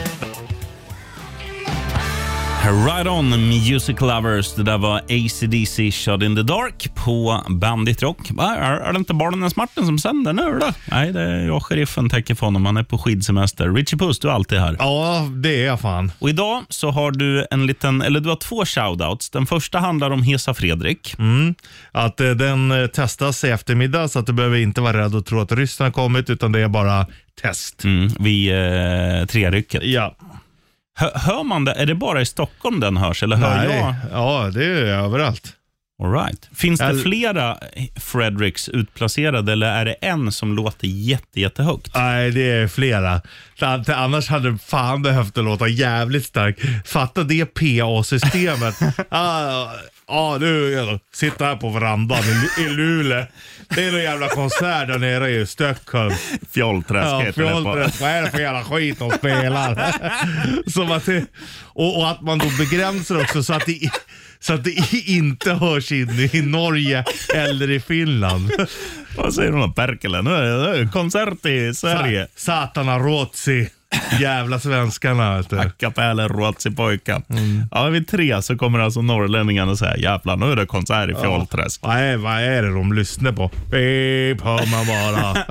B: Right on Music Lovers. Det där var ACDC Shot in the Dark på Bandit Rock. Va, Är, är det inte Barnens Martin som sänder nu då? Nej, det är jag, sheriffen, täcker för honom. Han är på skidsemester. Richie Puss, du är alltid här.
C: Ja det är jag fan.
B: Och idag så har du en liten, eller du har två shoutouts. Den första handlar om Hesa Fredrik.
C: Mm. Att eh, den eh, testas i eftermiddag så att du behöver inte vara rädd och tro att ryssen har kommit utan det är bara test.
B: Mm, vid eh, trerycket.
C: Ja.
B: Hör, hör man det? Är det bara i Stockholm den hörs, eller hör
C: Nej.
B: jag?
C: Ja, det är överallt.
B: All right. Finns det
C: Eller-
B: flera Fredriks utplacerade, eller är det en som låter jätte, jättehögt?
C: Nej, det är flera. An- Annars hade det fan behövt att låta jävligt starkt. Fatta det PA-systemet. ah, ah, nu är det- sitta här på verandan i, i Luleå. Det är någon jävla konsert där nere i Stockholm.
B: Fjollträsk
C: Ja,
B: heter det på.
C: fjolträsk. Vad är det för jävla skit de spelar? Som att det, och, och att man då begränsar också så att det, så att det inte hörs in i Norge eller i Finland.
B: Vad säger de då? Perkele, nu är det nu är det konsert i Sverige.
C: Sa- Satana Rotsi. Jävla svenskarna vet du.
B: Kapelle, Ruotsipojka.
C: Mm.
B: Ja, vid tre så kommer alltså norrlänningarna säga jävlar nu är det konsert i Fjollträsk.
C: Vad är, vad är det de lyssnar på? Beep, hör man bara.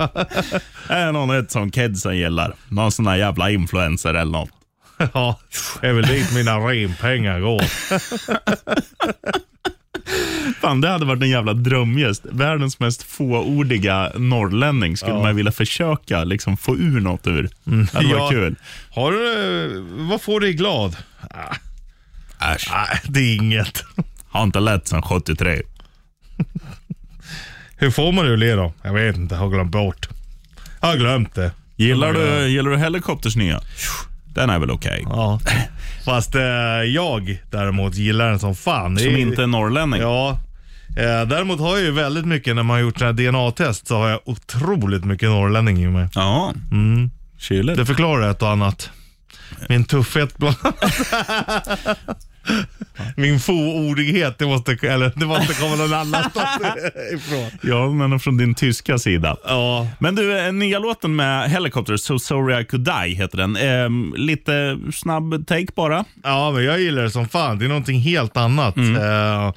B: Är det någon ett som kidsen gillar? Någon sån där jävla influencer eller något.
C: ja, det är väl dit mina rempengar går.
B: Fan, det hade varit en jävla drömgäst. Världens mest fåordiga norrlänning skulle man vilja försöka liksom, få ur något ur. Det hade
C: Mm. Ja.
B: varit kul.
C: Har du, vad får dig glad?
B: Äsch,
C: Nej, det är inget.
B: har inte lätt sedan 73.
C: Hur får man det att le då? Jag vet inte, har glömt bort. Jag har glömt det.
B: Gillar du, gillar du Helikopters nya? Den är väl okej?
C: Ja. Fast eh, jag däremot gillar den som fan. Det
B: Som
C: är-
B: inte är norrlänning?
C: Ja. Eh, däremot har jag ju väldigt mycket, när man har gjort sådana här DNA-test, så har jag otroligt mycket norrlänning i mig.
B: Ja. Mm. Kyligt.
C: Det förklarar ett och annat. Min tuffhet bland Min fåordighet, det måste, eller, det måste komma någon annanstans ifrån.
B: Ja, men från din tyska sida.
C: Ja,
B: Men du, eh, nya låten med Helicopter, So Sorry I Could Die, heter den. Ehm, lite snabb take bara.
C: ja, men jag gillar det som fan. Det är någonting helt annat. Eh,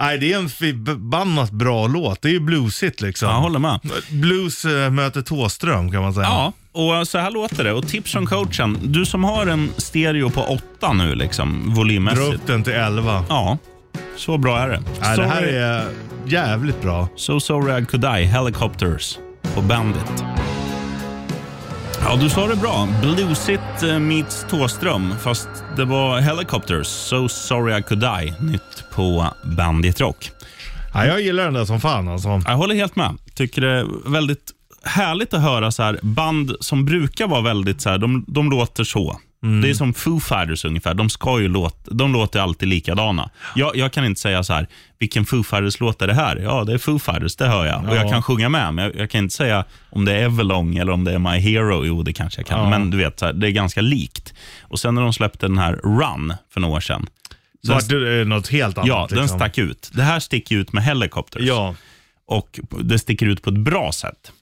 C: nej, det är en förbannat bra låt. Det är ju bluesigt liksom.
B: Jag håller med.
C: Blues eh, möter Thåström kan man säga.
B: Ja, och så här låter det. Och tips från coachen. Du som har en stereo på 8 nu, liksom,
C: Dra
B: volymmässigt.
C: upp den till 11.
B: Ja, så bra är det.
C: Nej, det här
B: Sorry-
C: är jävligt bra.
B: So Sorry I Could Die, Helicopters på Bandit. Ja, du sa det bra. Bluesigt eh, meets Tåström, fast det var Helicopters, So Sorry I Could Die, nytt på Bandit Rock.
C: Ja, jag gillar den där som fan alltså.
B: Jag håller helt med. Tycker det är väldigt härligt att höra så här band som brukar vara väldigt så här, de, de låter så.
C: Mm.
B: Det är som Foo Fighters ungefär. De, ska ju låta, de låter alltid likadana. Jag, jag kan inte säga så här, vilken Foo Fighters-låt är det här? Ja, det är Foo Fighters, det hör jag. Och jag kan sjunga med, men jag, jag kan inte säga om det är Everlong eller om det är My Hero. Jo, det kanske jag kan. Men du vet, så här, det är ganska likt. Och Sen när de släppte den här Run för några år sedan.
C: Så vart det eh, något helt annat.
B: Ja, den
C: liksom.
B: stack ut. Det här sticker ut med Helicopters
C: Ja,
B: och det sticker ut på ett bra sätt.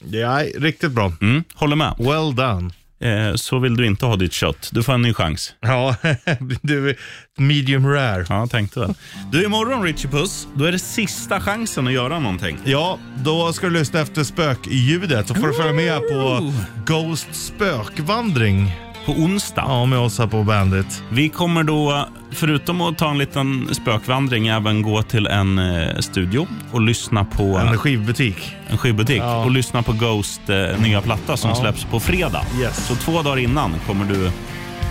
C: det är riktigt bra.
B: Mm, håller med.
C: Well done.
B: Eh, så vill du inte ha ditt kött. Du får en ny chans.
C: Ja, du är medium rare.
B: Ja, jag tänkte väl. Du, imorgon Richie Puss, då är det sista chansen att göra någonting.
C: Ja, då ska du lyssna efter spökljudet så får du följa med på Ghost spökvandring.
B: På onsdag.
C: Ja, med oss här på Bandit.
B: Vi kommer då, förutom att ta en liten spökvandring, även gå till en eh, studio och lyssna på
C: En
B: en,
C: skivbutik.
B: skivbutik
C: Ja.
B: och lyssna på Ghost eh, nya platta som
C: Ja.
B: släpps på fredag.
C: Yes.
B: Så två dagar innan kommer du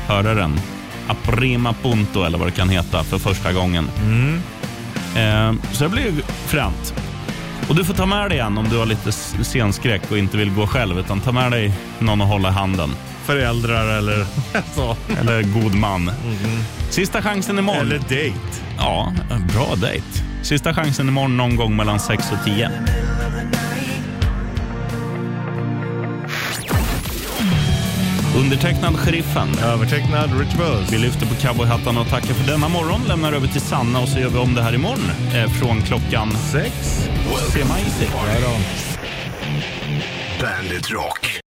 B: höra den. Aprima Punto eller vad det kan heta för första gången.
C: Mm.
B: Eh, så det blir ju fränt. Och du får ta med dig en om du har lite s- scenskräck och inte vill gå själv. Utan ta med dig någon att hålla i handen.
C: Föräldrar eller så.
B: Eller god man. Sista chansen imorgon.
C: Mm-hmm. Eller dejt.
B: Ja, en bra dejt. Sista chansen imorgon någon gång mellan 6 och 10. Undertecknad Sheriffen.
C: Övertecknad Rich
B: Vi
C: Buzz.
B: lyfter på cowboyhattarna och tackar för denna morgon. Lämnar över till Sanna och så gör vi om det här imorgon. Eh, från klockan...
C: Sex.
B: Ser man i sig.
A: Bandit Rock.